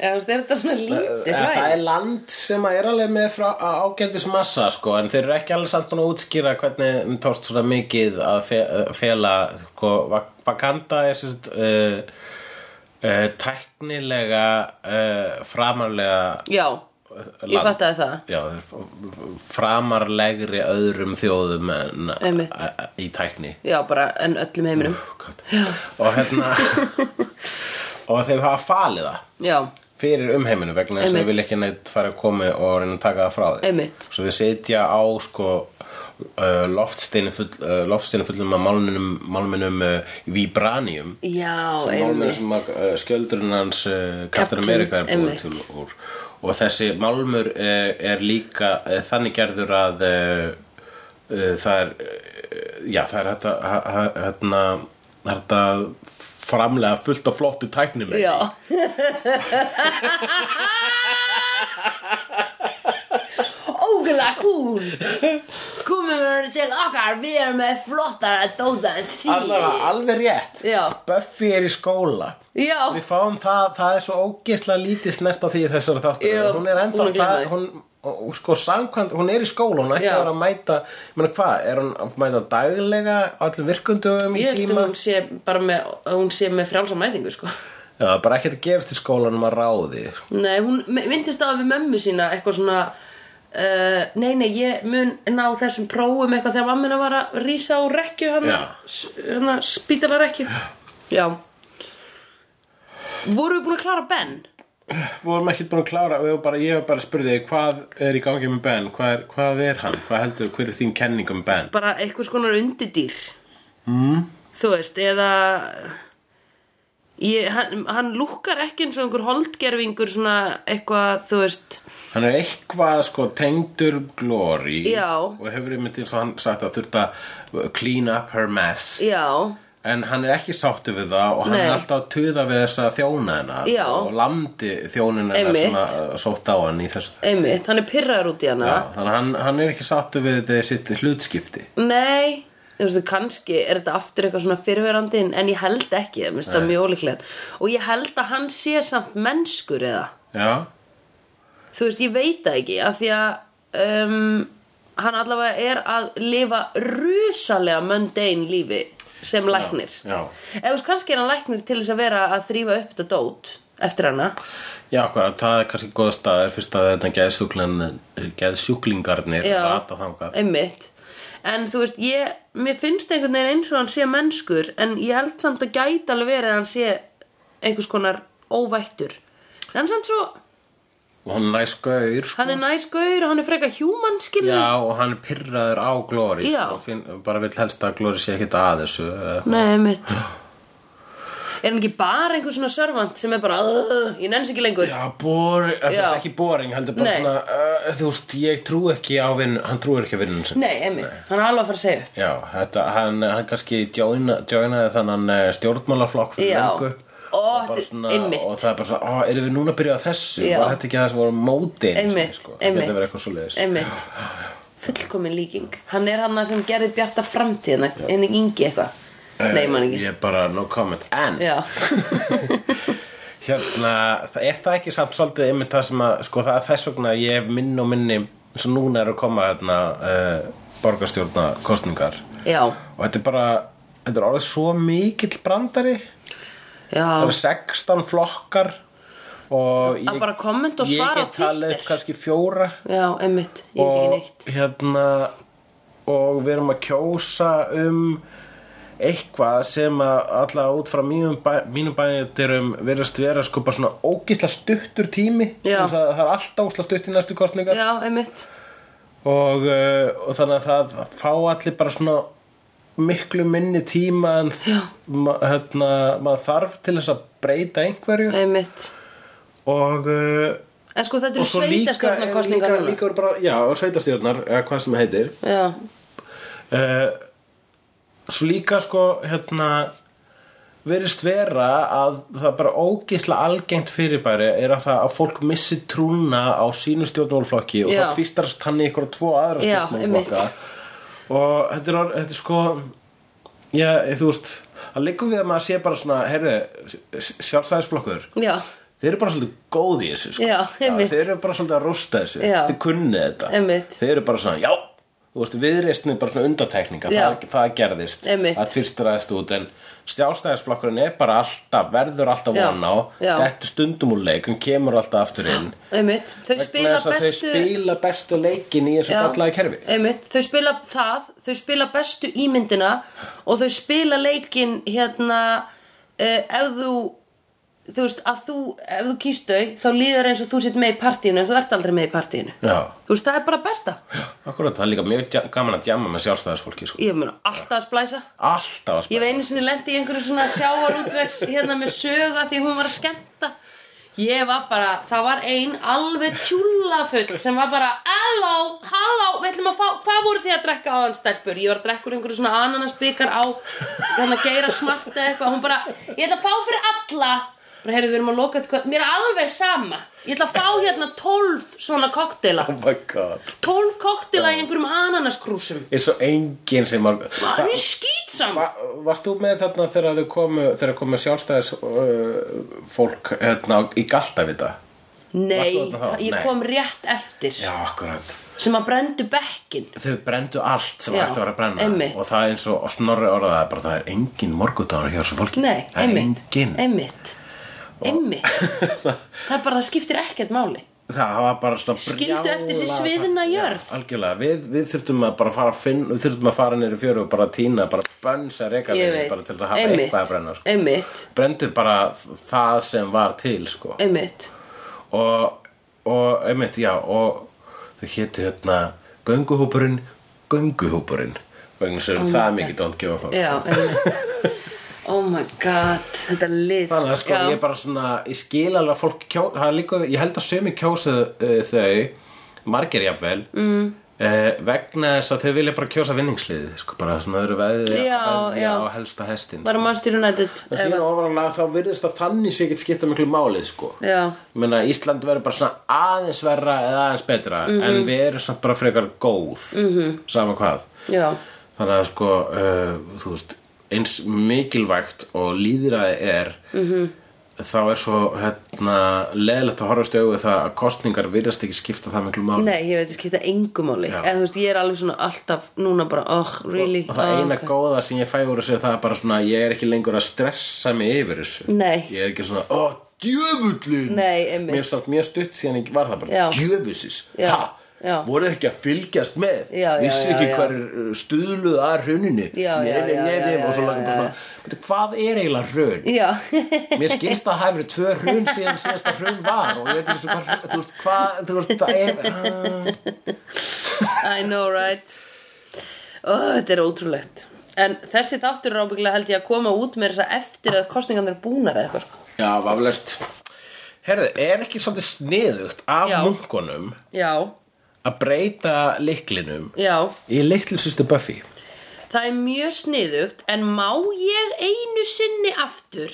A: Eða þú veist, er þetta svona lítið
B: Eh, Það
A: svæð?
B: er land sem að er alveg með frá á- ágætis massa sko en þeir eru ekki alveg samt búin að útskýra hvernig þeim tókst svona mikið að fe- fela sko, Vak- Wakanda er sérst uh, uh, tæknilega uh, framarlega
A: Já,
B: land.
A: ég fattaði það
B: Já, þeir f- framarlegri öðrum þjóðum en
A: Einmitt.
B: a- a- í tækni.
A: Já, bara en öllum heiminum
B: Úff, gott. Og hérna, og þeir hafa falið það
A: Já,
B: fyrir umheiminu vegna þess að
A: Einmitt.
B: þau vil ekki neitt fara að koma og reyna að taka það frá þeim
A: Einmitt.
B: svo þau setja á sko uh, loftsteinu full, uh, loftsteinu fullum af málminum, málminum uh, vibranium
A: já,
B: málmur
A: einmitt
B: sem að, uh, skjöldurinn hans uh,
A: Captain,
B: Captain America er búin
A: einmitt.
B: til úr og þessi málmur uh, er líka uh, þannig gerður að uh, uh, það er uh, já það er þetta hérna þetta framlega fullt af flottu tæknum
A: Já Ógulega kúl Komum við til okkar Við erum með flottara dóða en því
B: allavega alveg rétt
A: Já,
B: Buffy er í skóla
A: já
B: Við fáum það, það er svo ógisla lítið snert á því í þessari þáttur
A: Jú,
B: Hún er ennþá,
A: búin að gleyma
B: það,
A: því.
B: hún, og, og sko samkvæmt, hún er í skóla Hún ætti
A: Já.
B: að vera að mæta, ég meina hvað, er hún að mæta daglega á Allir virkundum í
A: Ég held að
B: tíma
A: hún sé bara með, að hún sé með frjálsa mætingu sko
B: Já, það er bara ekkert að gerast í skólanum að ráði
A: Nei, hún myndist á við mömmu sína eitthvað svona uh, Nei, nei, ég mun ná þessum prófum eitthvað þegar mammina var að rísa á rekju hana,
B: Já.
A: s- hana spítala rekju Já Voru við búin að klára Ben?
B: Við vorum ekkert búin að klára og ég var bara, ég var bara að spurði Hvað er í gangi með Ben? Hvað er, hvað er hann? Hvað heldur, hver er þín kenning um Ben?
A: Bara eitthvað skonar undidýr mm. Þú veist, eða ég, hann, hann lúkkar ekki eins og einhver holdgerfingur svona eitthvað, þú veist
B: Hann er eitthvað sko tengdur glory
A: Já.
B: Og hefur einmitt eins og hann sagt að þurft að clean up her mess
A: Já,
B: En hann er ekki sáttu við það og hann
A: Nei.
B: er alltaf að tuða við þessa þjóna hennar
A: Já.
B: og landi þjónina hennar
A: Einmitt.
B: sem að að sótt á hann í þessu þess.
A: einmitt, hann er pirraður út í hana
B: Já, þannig að hann, hann er ekki sáttu við þetta sitt hlutskipti.
A: Nei, þú veist, kannski er þetta aftur eitthvað svona fyrrverandi en- en ég held ekki, það minnst það mjög ólíklegt og ég held að hann sé samt mennskur eða,
B: Já,
A: þú veist, ég veit það ekki af því að um, hann allavega er að lifa rusalega mundane lífi sem læknir
B: já.
A: eða þú veist, kannski er hann læknir til þess að vera að þrýfa upp þetta dót eftir hana
B: já hvað, það er kannski góð staðar fyrst að þetta geðsjúklin- geðsjúklingarnir
A: Já.
B: rata þangað.
A: einmitt en þú veist, ég, mér finnst einhvern veginn eins og hann sé mennskur en ég held samt að gæti alveg verið að hann sé einhvers konar óvættur en hann samt svo,
B: Og hann næs gaur, sko.
A: hann er næskur og hann er freka human skilur
B: Já, og hann er pyrraður á glóri,
A: Já.
B: sko, finn, bara vill helst að glóri sé ekkit að þessu. eh,
A: nei, einmitt er hann ekki bara einhver svona servant sem er bara, "Ugh, ég nenns ekki lengur
B: Já, boring, er
A: Já.
B: þetta ekki boring, heldur bara
A: Nei.
B: svona, uh, þú veist, ég trú ekki á vinn, hann trúir ekki á vinnun sinni.
A: nei, einmitt, hann er alveg að fara að segja upp
B: Já, þetta, hann, hann kannski joina, joinaði þannan eh, stjórnmálaflokk fyrir
A: Já.
B: löngu.
A: Ó,
B: Og
A: þetta
B: bara
A: er- einmitt.
B: og það er bara svona, ó, erum við núna að byrja á þessu?
A: Já.
B: Var þetta ekki það sem voru mótin?
A: Einmitt,
B: sko?
A: einmitt.
B: Þetta verið eitthvað svo leiðis.
A: einmitt, fullkomin líking hann er hann sem gerði bjarta framtíðina en ekki yngi eitthvað,
B: Eh,
A: nei, man ekki
B: Ég bara, no comment. En,
A: já,
B: hérna, það er það ekki samt svolítið einmitt það sem að, sko, það er þess vegna að ég hef minn og minni, eins og núna eru að koma, hérna, uh, borgarstjórna
A: já
B: og þetta er bara þetta er orðið svo mikill brandari það
A: Já,
B: eru 16 flokkar og
A: Að bara kommenta og svara
B: ég
A: á
B: get talið upp
A: Twitter.
B: kannski fjóra
A: já, einmitt, ég veit ekki
B: og
A: neitt
B: hérna og við erum að kjósa um eitthvað sem að alltaf út frá mínum, bæ, mínum bæðindirum verðast vera sko bara svona ógisla stuttur tími
A: Já.
B: Þess að það er alltaf ógisla stutt í næstu kostningar
A: Já, einmitt,
B: og, uh, og þannig að það fá allir bara svona miklu minni tíma en ma, hérna, maður þarf til þess að breyta einhverju
A: einmitt
B: og, uh,
A: En sko þetta
B: og
A: eru
B: svo líka,
A: sveitarstjórnarkostningar
B: líka,
A: núna
B: líka eru bara, já, sveitastjórnar eða hvað sem heitir
A: Já,
B: uh, svo líka sko hérna verist vera að það er bara ógisla algengt fyrirbæri er að það að fólk missi trúna á sínu stjórnmálflokki og
A: Já.
B: það tvístarast hann í ykkur tvo aðra
A: Já,
B: stjórnmálflokka og þetta er, orð- þetta er sko já, þú veist það liggur við að maður sé bara svona heyrðu, sjálfstæðisflokkur
A: já,
B: þeir eru bara svolítið góð í þessu sko.
A: Já, einmitt.
B: þeir eru bara svolítið að rústa þessu
A: Já.
B: þeir kunnið þetta
A: Einmitt.
B: þeir eru bara svona, já, þú veist, viðreistn er bara svona undatekninga
A: Já.
B: það, það gerðist
A: Einmitt.
B: að tvistræðist út en stjálstæðisflokkurinn er bara alltaf verður alltaf
A: Já.
B: von á
A: Já.
B: þetta stundum úr leik, hann kemur alltaf aftur inn
A: einmitt, þau
B: vegna
A: spila
B: þess að þau
A: bestu
B: spila bestu leikin í þessu
A: Já.
B: gallaði kerfi
A: einmitt, þau spila það, þau spila bestu ímyndina og þau spila leikinn hérna uh, ef þú þú veist, að þú, ef þú kýst þau þá líður eins og þú sitt með í partíinu en þú ert aldrei með í partíinu
B: Já,
A: þú veist, það er bara besta
B: akkurat, það er líka mjög dja- gaman að djama með sjálfstæðisfólki sko.
A: ég mun alltaf að splæsa
B: alltaf að
A: ég
B: spila
A: hef einu sinni lendi í einhverju svona sjávarútvegs hérna með söga því hún var að skemmta ég var bara, það var ein alveg tjúlafull sem var bara hello, hello, við ætlum að fá hvað voru þið að drekka áðan stelpur ég var að drekka úr einhverju svona ananasbikar á hann að geira smart eða eitthvað hún bara, ég ætla að fá fyrir alla bara heyrðu, við erum að loka eitthvað, mér er alveg sama ég ætla að fá hérna 12 svona kokteila,
B: Oh my god
A: 12 kokteila í einhverjum ananaskrúsum
B: Eins og enginn sem var
A: það er skýt saman
B: Va- Varst þú með þarna þegar þau komu þegar komu sjálfstæðis uh, fólk hérna, í Galtavita?
A: Nei,
B: Varstu þarna þá?
A: ég
B: Nei.
A: kom rétt eftir
B: Já, akkurat
A: sem að brendu bekkin
B: Þau brendu allt sem
A: Já,
B: ætti að vera að brenna
A: einmitt.
B: og það er eins og snorri orðaði bara það er engin morgudánur hjá þessu fólki
A: Nei,
B: það er
A: einmitt
B: engin
A: Einmitt Einmitt Það er bara, það skiptir ekkert máli
B: Það var bara svona
A: Skildu
B: brjála-
A: eftir sig sviðna jörð.
B: Já, Algjörlega, við, við þurftum að bara fara að finna, við þurftum að fara nýri fjöru og bara týna, bara bönsa reka
A: Ég
B: þeim
A: veit
B: bara til að hafa
A: Einmitt.
B: eitthvað að brenna sko.
A: Einmitt,
B: Brendu bara það sem var til sko.
A: einmitt
B: og, og einmitt, já og þau hétu hérna gönguhúpurinn, gönguhúpurinn vegna þess að það er mikið don't give a fuck
A: Já, einmitt Oh my god, þetta lit
B: þannig að sko
A: Já.
B: ég er bara svona ég skil alveg að fólk kjó, það er líka, ég held að sömu kjósa uh, þau margir jafnvel mm. vegna þess að þau vilja bara kjósa vinningsliðið sko bara svona öðru veðið
A: Já, já.
B: á helsta hestin
A: Bara Manchester United
B: en síðan ofanlega þá virðist að þannig sé ekki skipta miklu málið sko
A: Já,
B: Ég meina Ísland verður bara svona aðeins verra eða aðeins betra
A: Mhm.
B: en við erum samt bara frekar góð -hmm. sama hvað
A: já
B: þannig að sko uh, þú veist, eins mikilvægt og líðræði er -hmm.
A: Mhm.
B: þá er svo hérna, leðilegt að horfast í augu við það að kostningar virðast ekki skipta það miklu máli
A: Nei, ég veit að skipta engu máli
B: Já.
A: Eða þú veist, ég er alveg svona alltaf núna bara, oh, really
B: og það
A: Ah,
B: eina
A: ok.
B: góða sem ég fæ úr þessu er það er bara svona ég er ekki lengur að stressa mig yfir þessu
A: Nei.
B: ég er ekki svona, ó, djöfullin
A: Nei, einmitt.
B: mér er samt mjög stutt síðan ég var það bara
A: Já.
B: djöfusis,
A: Já.
B: ha
A: Já.
B: voru ekki að fylgjast með
A: Já, já,
B: vissi
A: já,
B: ekki
A: já.
B: hvað er uh, stuðluð að hruninu
A: Já,
B: Nei,
A: já,
B: nei,
A: já,
B: nei, nei,
A: já,
B: og svo
A: já,
B: langar
A: já,
B: bara svona, "Bíddu, hvað er eiginlega hrun
A: Já
B: mér skilst að það hefur tvö hrun síðan síðasta hrun var og ég veit ekki svo hvað hrun- þú veist, hvað, þú veist, það er
A: I know right oh, Þetta er ótrúlegt En þessi þáttur er ábyggilega held ég að koma út með þess að eftir að kostningarnir er búnar eða eitthvað sko.
B: já, vaflest herðu, er ekki svolítið sniðugt af
A: Já.
B: munkunum
A: Já,
B: að breyta liklinum
A: já
B: í liklinsýstu Buffy
A: Það er mjög sniðugt en má ég einu sinni aftur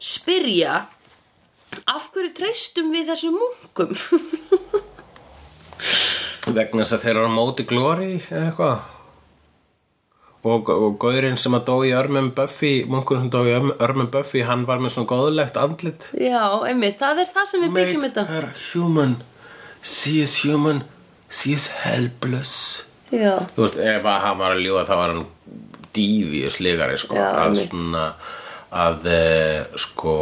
A: spyrja af hverju treystum við þessu munkum?
B: vegna þess að þeir eru á móti glóri eða eitthvað og, og gaurinn sem að dó í örmum Buffy munkurinn sem dó í örmum, örmum Buffy hann var með svona góðlegt andlit
A: já, einmitt, það er það sem við byggjum
B: Made
A: þetta
B: her human she is human she is helpless
A: Já,
B: þú veist, ef að hann var að ljúga þá var hann dífi og sligari sko,
A: Já,
B: að
A: einmitt.
B: svona að eh, sko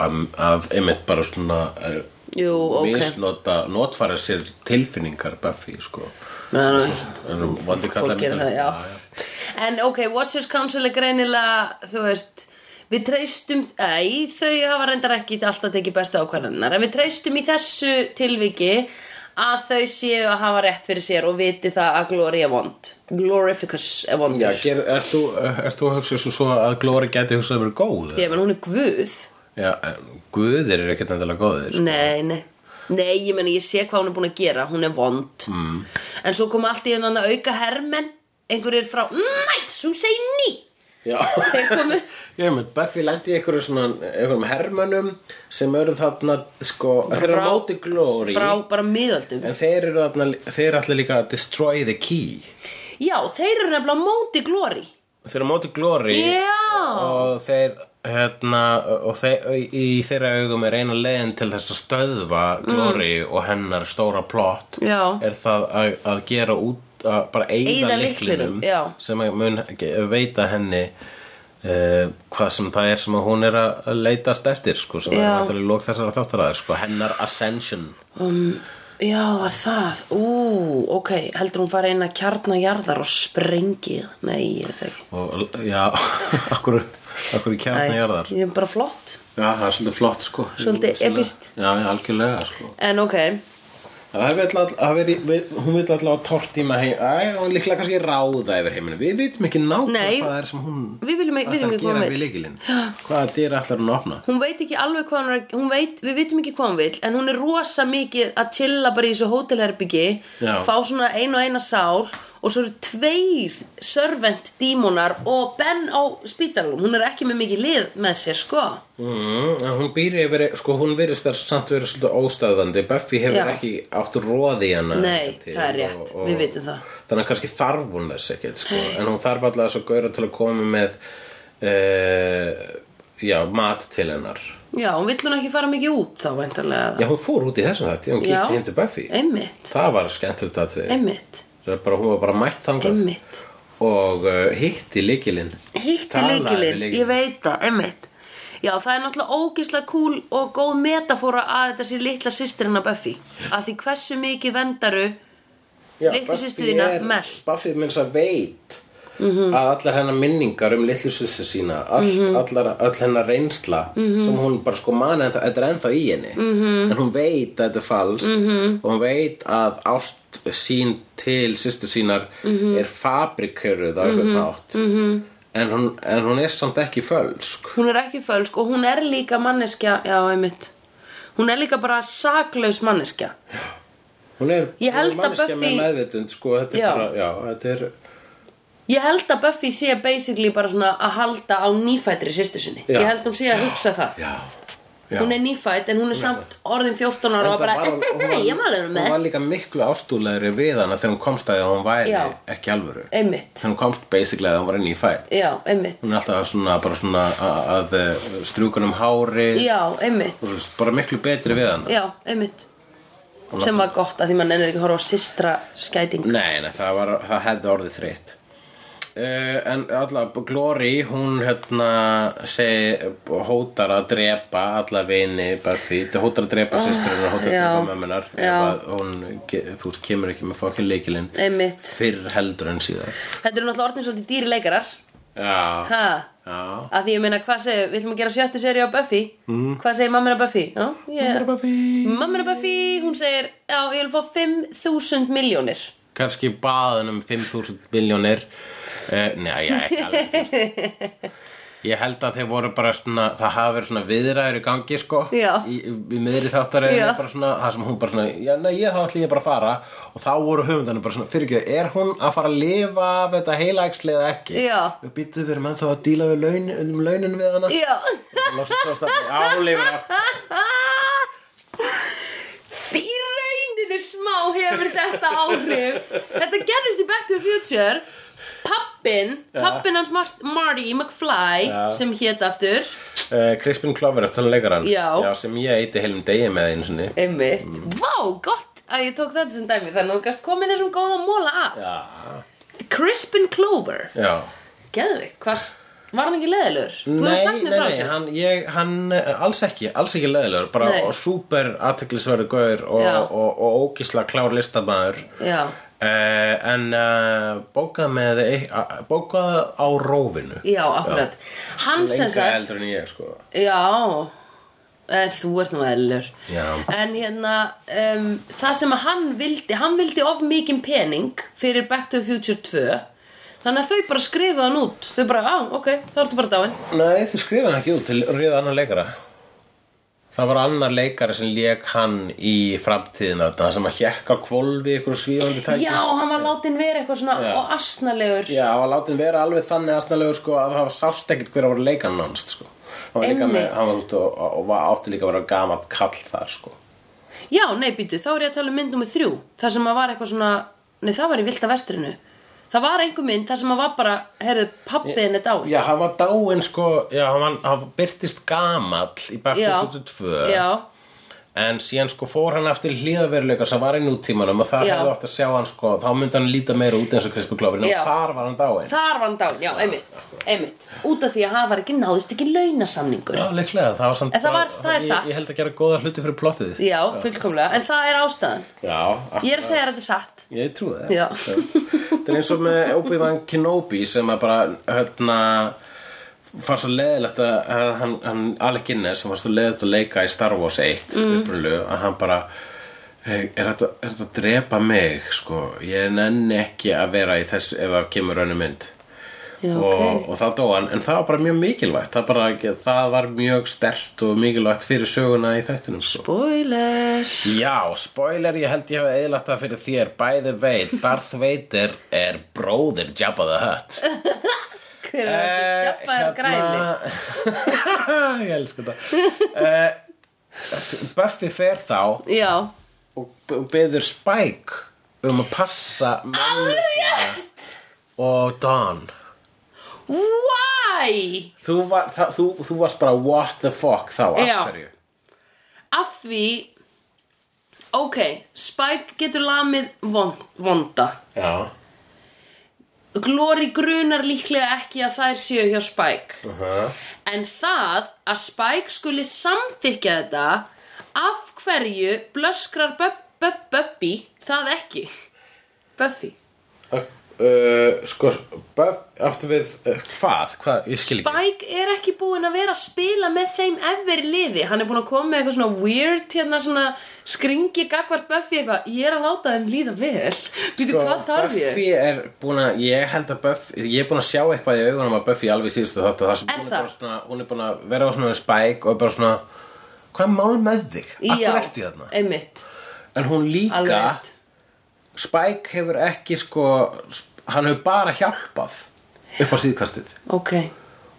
B: að, að einmitt bara svona eh,
A: Jú, ok.
B: misnota, notfæra sér tilfinningar Buffy sko
A: Nei, nei.
B: Svo- svo- en hún valdi kalla
A: fólk gerir það, já. En ok, Watchers Council er greinilega, þú veist, við treystum, ei, þau hafa reyndar ekki alltaf tekið bestu ákvarðanar, en við treystum í þessu tilviki að þau séu að hafa rétt fyrir sér og viti það að Glory er vond. Glorificus er vondur.
B: Já, ger, ert þú, ert þú að hugsa svo, svo að Glóri geti hugsað að vera góð?
A: Ég menn, hún er guð.
B: Já, en guðir eru ekkert endilega góðir.
A: Nei, nei. Nei, ég menn, ég sé hvað hún er búin að gera, hún er vond. Mm. En svo kom allt í enn að auka hermenn, einhverjir frá, nætt, hún segir ný.
B: Já.
A: Þeir komu,
B: Ég með Buffy lendi í einhverjum, svona, einhverjum hermönum sem eru þarna sko, þeir eru á
A: Frá-
B: móti glóri
A: frá bara miðöldum.
B: en þeir eru þarna þeir eru allir líka að destroy the key
A: Já, þeir eru nefnilega á móti glóri
B: þeir eru á móti glóri
A: Já.
B: og þeir hérna, og þeir, í þeirra augum er eina leiðin til þess
A: Mm.
B: að stöðva glóri og hennar stóra plott
A: Já.
B: er það að, að gera út að bara eyða
A: Eyða lyklinum,
B: lyklinum
A: já.
B: sem að mun ekki- veita henni uh, hvað sem það er sem að hún er að leitast eftir sko, sem er
A: Já.
B: vantarlega lók þessara þáttaraðir sko, hennar ascension
A: Um, já, það var það. Ú, ok, heldur hún fara inn að kjarna jarðar og sprengi. það? Nei, ég veit það ekki.
B: og já, okkur, okkur kjarnar jarðar
A: Ég er bara flott.
B: Já, það er svolítið flott sko
A: Svolítið
B: Svolítið-
A: epískt.
B: Já, já, algjörlega sko
A: En ok,
B: Það vill all, það veri, við- hún vil allavega tortíma heim Æ, hún líklega kannski ráða yfir heiminu Við vitum ekki nákvæmlega
A: Nei.
B: hvað það er sem hún
A: Við viljum ekki- vitum
B: ætlar
A: ekki
B: að
A: hvað hún
B: gera
A: vill.
B: við leikilinn Hvaða dyr ætlar hún að opna
A: hún veit ekki alveg hvað hún er, að- hún veit, við vitum ekki hvað hún vil, en hún er rosa mikið að chilla bara í þessu hótelherbyggi,
B: Já.
A: fá svona ein og eina sál og svo eru tveir servant dímonar og Ben á spítalum. Hún er ekki með mikið lið með sér, sko.
B: mm, en Hún býr yfir, sko hún virðist þar samt verið svolítið óstæðandi Buffy hefur
A: Já.
B: ekki átt róði hana
A: Nei,
B: hingað til
A: það er rétt. Við vitum það.
B: Þannig að kannski þarf hún þess ekkert sko. En hún þarf allavega svo gauðra til að koma með uh, Já, mat til hennar
A: Já, hún vill hún ekki fara mikið út þá, væntanlega.
B: Já, hún fór út í þessum þætti, hún
A: Já. Eh.
B: kíkti heim til Buffy
A: Einmitt,
B: Það var skemmtilegt aðtrið
A: einmitt,
B: bara, Hún var bara mætt þangað
A: einmitt.
B: og uh, hitti líkilinn
A: Hitti
B: Talaði við
A: leikilinn,
B: lykilinn.
A: ég veit það, einmitt Já, það er náttúrulega ógislega kúl og góð metafóra að þetta sé litla systirinn að Buffy að því hversu mikið vendaru
B: Já,
A: litlu
B: Buffy
A: systur þína
B: er-
A: mest. Mhm.
B: Buffy minns að veit að allar hennar minningar um litlu sýstur sína all, allar, all hennar reynsla
A: Mhm.
B: sem hún bara sko mani en þetta er ennþá í henni -hmm. en hún veit að þetta er falskt -hmm.
A: Mhm.
B: og hún veit að ást sín til sýstur sínar
A: Mhm.
B: er fabrikuruð á einhvern nátt -hmm. en, hún, en hún er samt ekki fölsk
A: hún er ekki fölsk og hún er líka manneskja já, einmitt hún er líka bara saklaus manneskja
B: hún er
A: Ég held
B: hún er
A: að
B: manneskja
A: Buffy-
B: með meðvitund sko, þetta er
A: Já.
B: bara, já, þetta er
A: Ég held að Buffy sé basically bara svona að halda á nýfættri systur sinni
B: Já.
A: Ég held hún sé að hugsa það
B: já, já.
A: Hún er nýfætt en hún er samt orðin 14 ára og bara, ég maður erum
B: hún
A: með
B: var líka miklu ástúðlegri við hana þegar hún komst að því að hún væri
A: Já.
B: ekki alvöru þegar
A: Einmitt,
B: hún komst basically að hún var inn í fætt
A: já, einmitt
B: hún er alltaf svona, bara svona a- að eh, strjúka um hári
A: Já, einmitt
B: Þú veist, bara miklu betri við hana
A: Já, einmitt sem var gott að því mann ennur ekki að horfa á systra skæting
B: Nei, nei það, var, það hefði orðið þreytt uh, En allavega, Glory, hún hérna segi, hótar að drepa alla vini Buffy Þetta hótar að drepa oh, sýsturinnar, hótar
A: Ah, já,
B: að drepa mömmunar
A: já.
B: Ef að hún, ge- þú veist, kemur ekki með fokkin leikilinn
A: einmitt,
B: Fyrr heldur en síðar
A: þetta eru náttúrulega orðin svolítið dýri leikarar
B: Já,
A: ha,
B: já
A: að því ég meina hvað segir, við ætlum að gera sjöttu seri á Buffy mm. hvað segir mammina Buffy já,
B: Bara
A: ég,
B: Mhm.
A: Mm.
B: Buffy
A: mammina Buffy, hún segir já, ég vil fá 5.000 miljónir
B: Kanski baðan um 5.000 biljónir uh, Nei, ég ekki alveg þú veist. Ég held að þeir voru bara svona Það hafa verið svona viðræður í gangi sko
A: Já.
B: Í, í miðri þáttaræðinu
A: Já.
B: bara svona Það sem hún bara svona Já, nei, ég þá ætli ég bara að fara Og þá voru höfundanum bara svona Fyrir ekki, er hún að fara að lifa af þetta heilægsli eða ekki?
A: Já.
B: Við býttu fyrir menn þá að díla við laun, um launin við hana
A: já
B: Loksins tókst að- Já, hún lifir af
A: í rauninni smá hefur þetta áhrif þetta gerðist í Back to the Future pappin, pappin hans Mar- Marty McFly
B: Já.
A: sem hét aftur
B: Uh, Crispin Glover, þannig leikar hann
A: Já.
B: sem ég eiti heilum degi með einu sinni
A: Einmitt. Vá, gott að ég tók þetta sem dæmi þannig að þú gæst komið þessum góða móla að.
B: Já,
A: Crispin Clover.
B: já.
A: Geðvikt, hvað, var hann ekki leðilegur? Þú hefur sagt mér frá þessu.
B: hann, ég, hann eh, alls ekki, alls ekki leðilegur bara
A: Nei.
B: og super aðteklisverðu gaur og,
A: Já.
B: og, og, ógisla klár listamæður
A: Já,
B: Uh, en uh, bókað með uh, bókað á rófinu
A: já, akkurat. Hann sem
B: lengra
A: sagt,
B: eldur en ég sko
A: já, e, þú ert nú leðilegur.
B: Já.
A: En hérna, um, það sem að hann vildi, hann vildi of mikinn pening fyrir Back to the Future 2. Þannig að þau bara skrifa hann út. Þau bara, á, ok, þá ertu bara dáin.
B: Nei, þau skrifaði hann ekki út til ríða annar leikara Það var annar leikara sem leik hann í framtíðina þarna, sem að hjekka kvolfi ykkur svífandi tæki
A: Já, hann var látin vera eitthvað svona
B: Já.
A: og asnalegur.
B: Já, hann var látin vera alveg þannig aðsnalegur sko, að það var sást ekkert hver að voru leikann hans sko. Hann var líka með,
A: Einmitt.
B: hann var út og, og var átti líka að vera gamalt kall þar sko.
A: Já, nei, býtu, þá er ég að tala um mynd nummer þrjú Það sem að var eitthvað svona Nei, það var í Vilda Vestrinu Það var einhver mynd, það sem að var bara Herðu, pappiðin er dáin
B: Já, hann var dáinn sko, já, hann, var- hann byrtist gamall í Back
A: Já.
B: to 22
A: Já,
B: en síðan sko fór hann aftur hliðaveruleika sem var í nútímanum og það
A: Já.
B: hefði átt að sjá hann sko þá myndi hann líta meira út eins og Krispy Glover
A: Já.
B: og þar var hann dáin
A: Þar var hann dán, já, einmitt, einmitt Út af því að hann var ekki náðist ekki launasamningur
B: Já, líklega, það var samt
A: En það var- það er satt.
B: ég, ég held að gera góða hluti fyrir plottið
A: Já, fullkomlega, en það er ástæðan
B: Já,
A: Ég er að segja að þetta er satt
B: Ég trúi það
A: Já.
B: Það er eins og með Obi-Wan Kenobi sem að bara hérna fannst svo leðilegt að að hann, hann Alec Guinness sem fannst svo leðilegt að leika í Star Wars 1 mm. að hann bara "Hey, er þetta, er þetta að drepa mig sko, ég nenni ekki að vera í þess ef það kemur önnu mynd
A: Já,
B: og,
A: ok
B: og það dó hann en það var bara mjög mikilvægt það, bara, það var mjög stert og mikilvægt fyrir söguna í þættunum sko.
A: Spoiler
B: Já, spoiler, ég held ég hafa eðlagt það fyrir þér Bæði veit, Darth Vader er bróðir Jabba the Hutt
A: Hver er
B: Eh,
A: þetta? Jabba er
B: hérna.
A: græli
B: græli Ég elsku þetta uh, Buffy fer þá
A: Já,
B: og b- beður Spike um að passa mömmu sína og Dawn
A: why?
B: þú, var, það, þú, þú varst bara what the fuck þá, af
A: Já.
B: hverju
A: Af því Ok, Spike getur lamið von- vonda
B: Já,
A: Glory grunar líklega ekki að þær séu hjá Spike
B: uh -huh.
A: En það að Spike skuli samþykja þetta af hverju blöskrar Bub- Bub- Bubby það ekki Buffy
B: uh, uh, Sko, Buffy, áttu við uh, hvað? Hvað, ég skil ekki
A: Spike er ekki búinn að vera að spila með þeim ever í liði hann er búinn að koma með eitthvað svona weird hérna svona skringi gagvart Buffy eitthvað ég er að láta þeim líða vel býtu
B: Sko,
A: hvað þarf ég
B: Buffy er búin að, ég held að Buffy, ég er búin að sjá eitthvað í augunum að Buffy alveg í síðustu þáttu þar sem
A: Er
B: hún er,
A: það?
B: bara svona, hún er búin að vera á svona spæk og er bara svona, hvað er mál með þig?
A: Já,
B: Akkur ertu hérna? þarna?
A: einmitt,
B: En hún líka,
A: alveg rétt.
B: Spike hefur ekki sko, hann hefur bara hjálpað upp á síðkastið
A: ok ég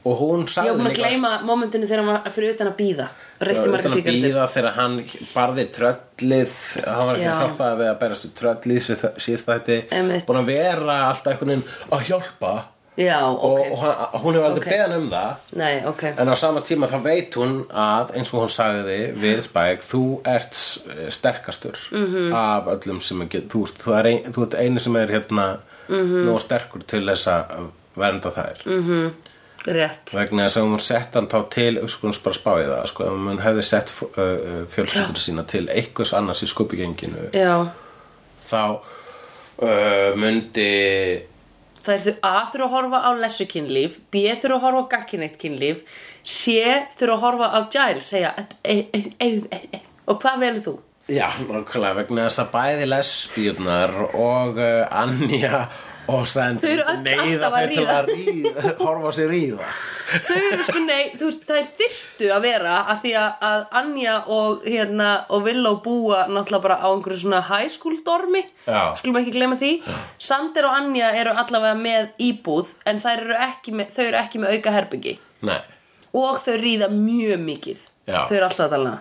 B: og hún sagði
A: var búin að gleyma momentinu þegar hann var fyrir utan að um býða reytti marga
B: að
A: sigardur
B: býða þegar hann barði tröllið hann var ekki
A: Já.
B: að hjálpa við að berast við tröllið síðst þetta
A: Einmitt.
B: búin að vera alltaf einhvern veginn að hjálpa
A: já,
B: og,
A: ok,
B: og hann, hún hefur aldrei
A: Ok.
B: okay. beðan um það
A: nei, ok
B: en á sama tíma þá veit hún að eins og hún sagði við Spike þú ert eh, sterkastur
A: Mhm.
B: -hmm. af öllum sem er get, þú, veist, þú, er ein, þú ert einu sem er hérna mm
A: Mhm.
B: -hmm. nú sterkur til þess að vernda þær mm -hmm.
A: rétt
B: vegna þess að hún sett hann þá til sko hún bara spáði það sko ef hún hefði sett f- ö, ö, fjölskyldur sína til einhvers annars í skupigenginu
A: já,
B: þá uh, myndi
A: Það er þau að þurfa að horfa á lessu kynlíf, B þurfa að horfa á gagkinneitt kynlíf, C þurfa að horfa á Giles, segja e, e, e, e, e. og hvað velur þú?
B: Já, nákvæmlega, vegna þess að bæði lesbíurnar og uh, Anja og Sandy
A: Þau eru öll
B: neyða
A: alltaf að
B: þau til
A: ríða.
B: að ríða, horfa á sig ríða.
A: Þau eru sko nei, þú veist, það er þyrftu að vera að því að, að Anja og hérna og Willow búa náttúrulega bara á einhverju svona high school dormi,
B: Já.
A: skulum ekki gleyma því. Sander og Anja eru allavega með íbúð en þær eru ekki með, þau eru ekki með auka herbyggi
B: Nei,
A: og þau ríða mjög mikið.
B: Já.
A: Þau eru alltaf að tala.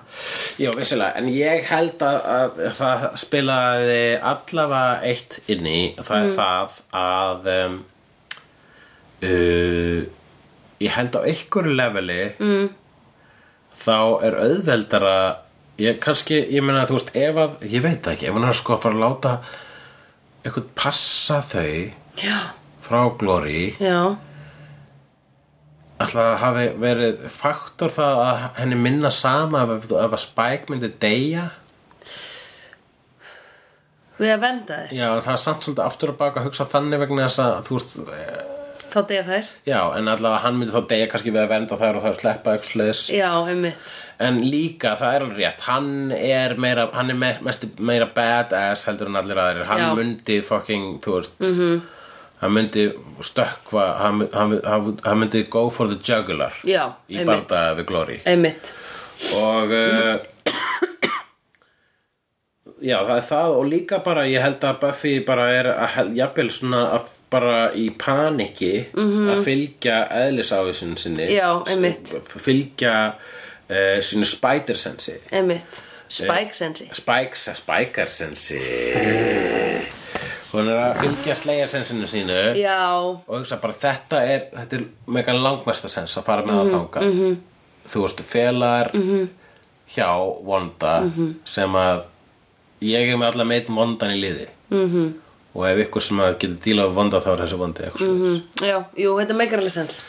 B: já, vissilega, en ég held að, að það spilaði allavega eitt inn í, það er það að um, uh, ég held á einhverju leveli mm. þá er auðveldara ég kannski, ég meina þú veist ef að, ég veit það ekki, ef hún er sko að fara að láta eitthvað passa þau
A: Já.
B: frá Glory
A: Já.
B: ætla að hafi verið faktor það að henni minna sama ef, ef að Spike myndi deyja
A: Við að vernda þér.
B: já, en það er samt svolítið aftur að baka að hugsa þannig vegna þess að þú veist eh,
A: Þá deyja þær
B: já, en allavega hann myndi þá deyja kannski við að vernda þær og það er sleppa eitthvað sliðis
A: Já, einmitt
B: en líka, það er alveg rétt hann er meira, hann er me, mest meira badass heldur en allir aðrir hann
A: Já. Mhm.
B: myndi fucking, þú veist -hmm. hann myndi stökkva hann, hann, hann, hann myndi go for the jugular
A: Já,
B: í
A: einmitt.
B: barda við Glory
A: Einmitt
B: og uh, já það er það og líka bara ég held að Buffy bara er að hel- jafnvel svona að bara í paniki að fylgja eðlisávísun sinni
A: Mhm. Já, einmitt.
B: fylgja uh, sínu spider-sensi
A: Einmitt Spike sensi
B: spikes, spiker-sensi hún er að fylgja slayer-sensinu sínu
A: Já
B: og hugsa bara þetta er, þetta
A: Mhm,
B: er megan langmesta sens að fara með það þangað þú veist, felar mm -hmm. hjá vonda
A: Mhm.
B: sem að ég er með allan meitum vondan í liði
A: Mhm.
B: -hmm. og ef ykkur sem að getur dílað við vonda þá er þessi vondi eitthvað mm -hmm.
A: Já, jú, þetta meikar alveg sens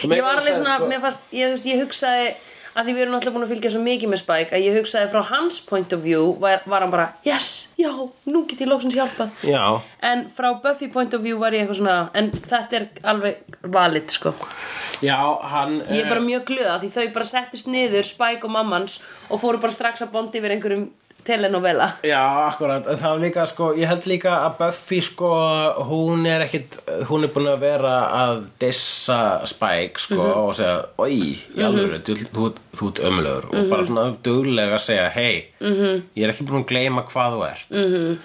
B: Það
A: Ég
B: meikar
A: var
B: alveg
A: alveg
B: sens,
A: svona,
B: sko.
A: mér fannst, ég, þú veist, ég hugsaði að því við erum náttúrulega búin að fylgja svo mikið með Spike að ég hugsaði frá hans point of view var, var hann bara, yes, já, nú get ég lóksins hjálpað
B: Já,
A: en frá Buffy point of view var ég eitthvað svona en þetta er alveg valid sko
B: já, hann
A: ég er bara mjög glöða því þau bara settist niður Spike og mammans og fóru bara strax að bondi yfir einhverjum telenovela
B: Já, akkurat, en það var líka sko, ég held líka að Buffy sko, hún er ekkit, hún er búin að vera að dissa Spike sko
A: Mhm.
B: og segja, oi, í alvöru, þú, þú, þú ert ömlögur og
A: Mhm.
B: bara svona duglega að segja, hei, -hmm. ég er ekki búin að gleyma hvað þú ert.
A: Mhm.
B: -hmm.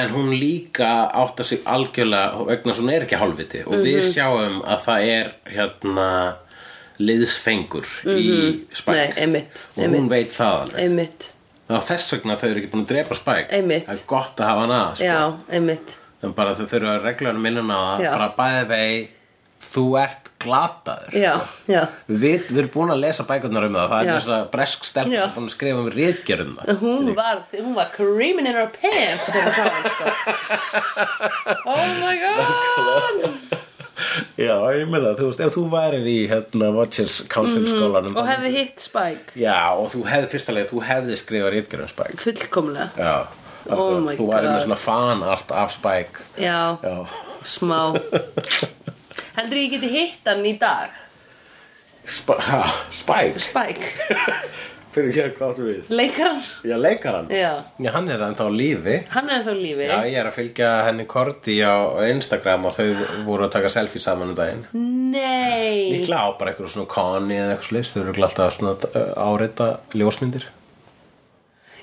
B: En hún líka átta sig algjörlega vegna þess að hún er ekki hálfviti og
A: Mhm.
B: við sjáum að það er hérna liðsfengur í
A: Mhm. nei,
B: Spike
A: einmitt,
B: og hún
A: einmitt,
B: veit það alveg.
A: einmitt
B: Það var þess vegna þau eru ekki búin að drepa Spike
A: Einmitt.
B: Það er gott að hafa hana að, sko.
A: já, einmitt
B: En bara þau þurfa að regla hann minnuna á það
A: Já.
B: Bara bæði vei Þú ert glataður
A: já, já
B: Við, við erum búin að lesa bækurnar um það Það
A: Já.
B: er þess að bresk stelpa
A: Já. Uh-huh.
B: sem er búin að skrifa um ritgerð um það
A: hún var, hún var creaming in her pants þegar það var sko oh my god
B: Já, ég meina, þú veist, ef þú værir í hérna, Watchers Council skólanum
A: Mm-hmm. og hefði hitt Spike
B: Já, og þú hefði fyrsta leið, þú hefði skrifað ritgerð um Spike
A: fullkomlega
B: Já,
A: Oh
B: akkurat.
A: my
B: þú værir með
A: God.
B: svona fanart af Spike
A: já,
B: Já,
A: smá heldur ég geti hitt hann í dag
B: Sp ha, Spike,
A: Spike,
B: fyrir ekki að gott við
A: leikar hann
B: Já, leikaran
A: Já.
B: Já, hann er ennþá á lífi
A: hann er ennþá á lífi
B: Já, ég er að fylgja henni Korti á á Instagram og þau voru að taka selfie saman um daginn
A: nei
B: Líklega á bara eitthvað svona koni eða eitthvað slags Þau eru örugglega alltaf svona uh, árita ljósmyndir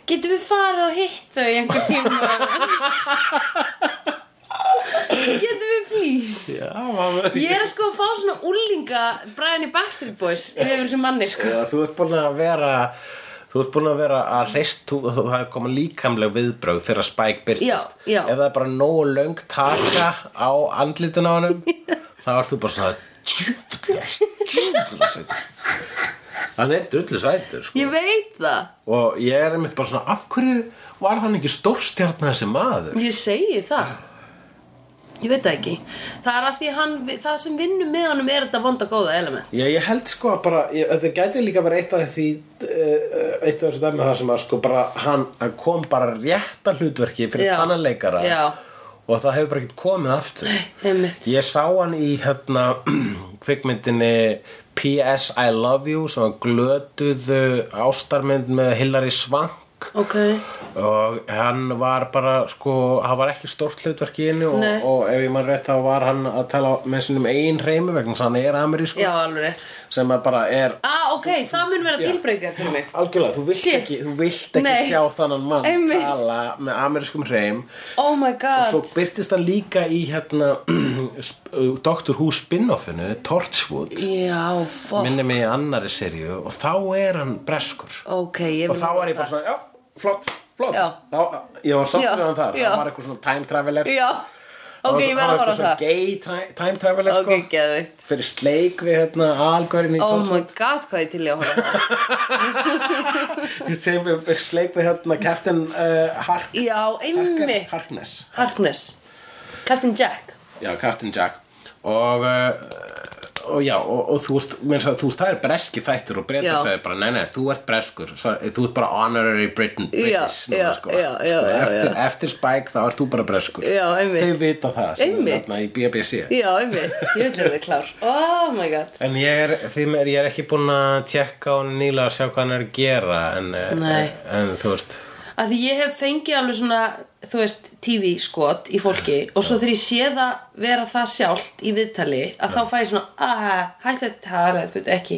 A: getum við farið og hitt þau í einhver tíma getum við please
B: Já, mamma
A: ég er að sko að fá svona úlinga Brian í Backstreet Boys yfir þessum manni sko
B: Já, þú ert búin að vera Þú ert búin að vera að reist þú, þú, það er koma líkamleg viðbrögð þegar Spike byrtist
A: Já, já.
B: Ef það er bara nógu löng taka á andlitin á honum þá ert þú bara svona djúfullas, djúfullas Hann er dullu sætur sko.
A: ég veit það
B: og ég er einmitt bara svona af hverju var hann ekki stórstjarnar þessi maður
A: ég segi það ég veit það ekki það er að því hann það sem vinnum með honum er þetta vonda góða element
B: Já, ég held sko að bara, ég, þetta gæti líka verið eitt af því, eh, eitt af þessu dæmi það sem að sko bara, hann hann kom bara rétta hlutverki fyrir
A: Já.
B: annan leikara
A: Já.
B: og það hefur bara ekkert komið aftur.
A: einmitt
B: Ég sá hann í hérna kvikmyndinni P.S. I Love You sem var glötuðu ástarmynd með Hilary Swank
A: ok
B: og hann var bara sko, hann var ekki stórt hlutverk í henni og,
A: Nei.
B: og ef ég mann rétt þá var hann að tala með sínum eigin hreimi vegna þess að hann er amerísku
A: já alveg rétt
B: sem að bara er
A: ah ok það mun vera tilbreykar fyrir mig
B: algjörlega, þú vilt
A: Shit.
B: ekki, þú vilt ekki
A: Nei.
B: sjá þannan mann
A: Einmitt.
B: tala með amerískum hreim
A: oh my god
B: og svo byrtist hann líka í hérna sp- Doctor Who spin-offinu Torchwood,
A: Já, fuck
B: minni mig í annari serju og þá er hann breskur
A: Ok, ég
B: og þá var ég bara svona, já, flott, flott
A: Já.
B: þá, ég var
A: Já,
B: sátt við hann þar,
A: já.
B: hann var eitthvað svona time traveler
A: Já, ok, ég verð að fara á það
B: gay tra- time traveler
A: Ok,
B: sko
A: geðvikt
B: fyrir sleik við hérna algörin í
A: Oh my
B: Tórsvöld
A: god, hvað ég til ég að horfa á það.
B: sem við fyrir sleik við hérna Captain uh, Hark
A: Já, einmitt
B: Harkness
A: Harkness Captain Jack
B: já, Captain Jack og uh, og já, og, og þú veist mér sagði, þú veist, það er breski þættur og breyta
A: Já.
B: sagði bara, nei, nei, þú ert breskur svo, eh, þú ert bara honorary Britain British sko."
A: Já, já, já, já, já,
B: eftir, eftir Spike þá ert þú bara breskur
A: Já, einmitt.
B: þau vita það sem er
A: Einmitt.
B: þarna í BBC
A: Já, einmitt, ég vil verða klár Oh my god
B: En ég er, því mér, ég er ekki búin að tjekka á henni nýlega að sjá hvað hann er að gera en, eh,
A: Nei.
B: en þú veist
A: að því ég hef fengið alveg svona þú veist, tv skot í fólki og svo þegar ég sé það vera það sjálft í viðtali, að þá fæ ég svona að hætti að tala, þú veit ekki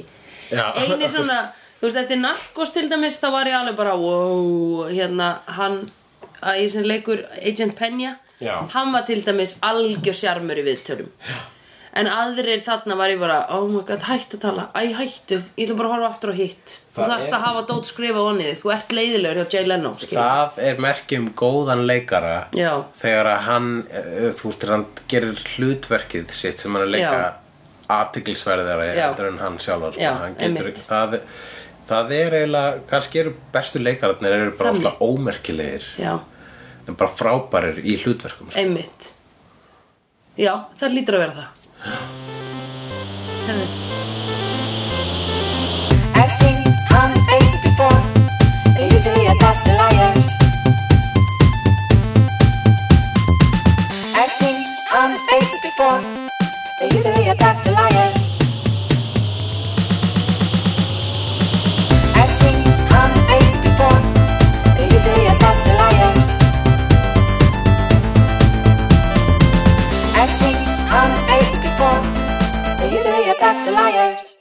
B: Já.
A: eini svona, þú veist, eftir narkos til dæmis, þá var ég alveg bara wow, hérna, hann að ég sem leikur Agent Penja
B: Já.
A: hann var til dæmis algjör sjarmur í viðtölum en aðrir þarna var ég bara, oh my god, hætt að tala æ, hættu, ég ætla bara að horfa aftur á hitt þú
B: Það
A: þarft
B: er-
A: að hafa dót skrifað onnið þú ert leiðilegur hjá Jay Leno skilur.
B: Það er merki um góðan leikara
A: Já.
B: þegar að hann, eh, þú veist, hann gerir hlutverkið sitt sem hann er að leika athyglisverðara
A: Já.
B: heldur en hann sjálfan sko.
A: Já,
B: hann getur,
A: einmitt.
B: það, það er eiginlega, kannski eru bestu leikararnir eru bara
A: Þannig.
B: ósla ómerkilegir
A: já,
B: en bara frábærir í hlutverkum sko.
A: einmitt já, það lítur að vera það Herðu,
C: I've seen honest faces before. They're usually a pass to liars. I've seen honest faces before. They're usually a pass to liars. I've seen honest faces before. They're usually a pass to liars. I've seen honest faces before. They're usually a pass to liars.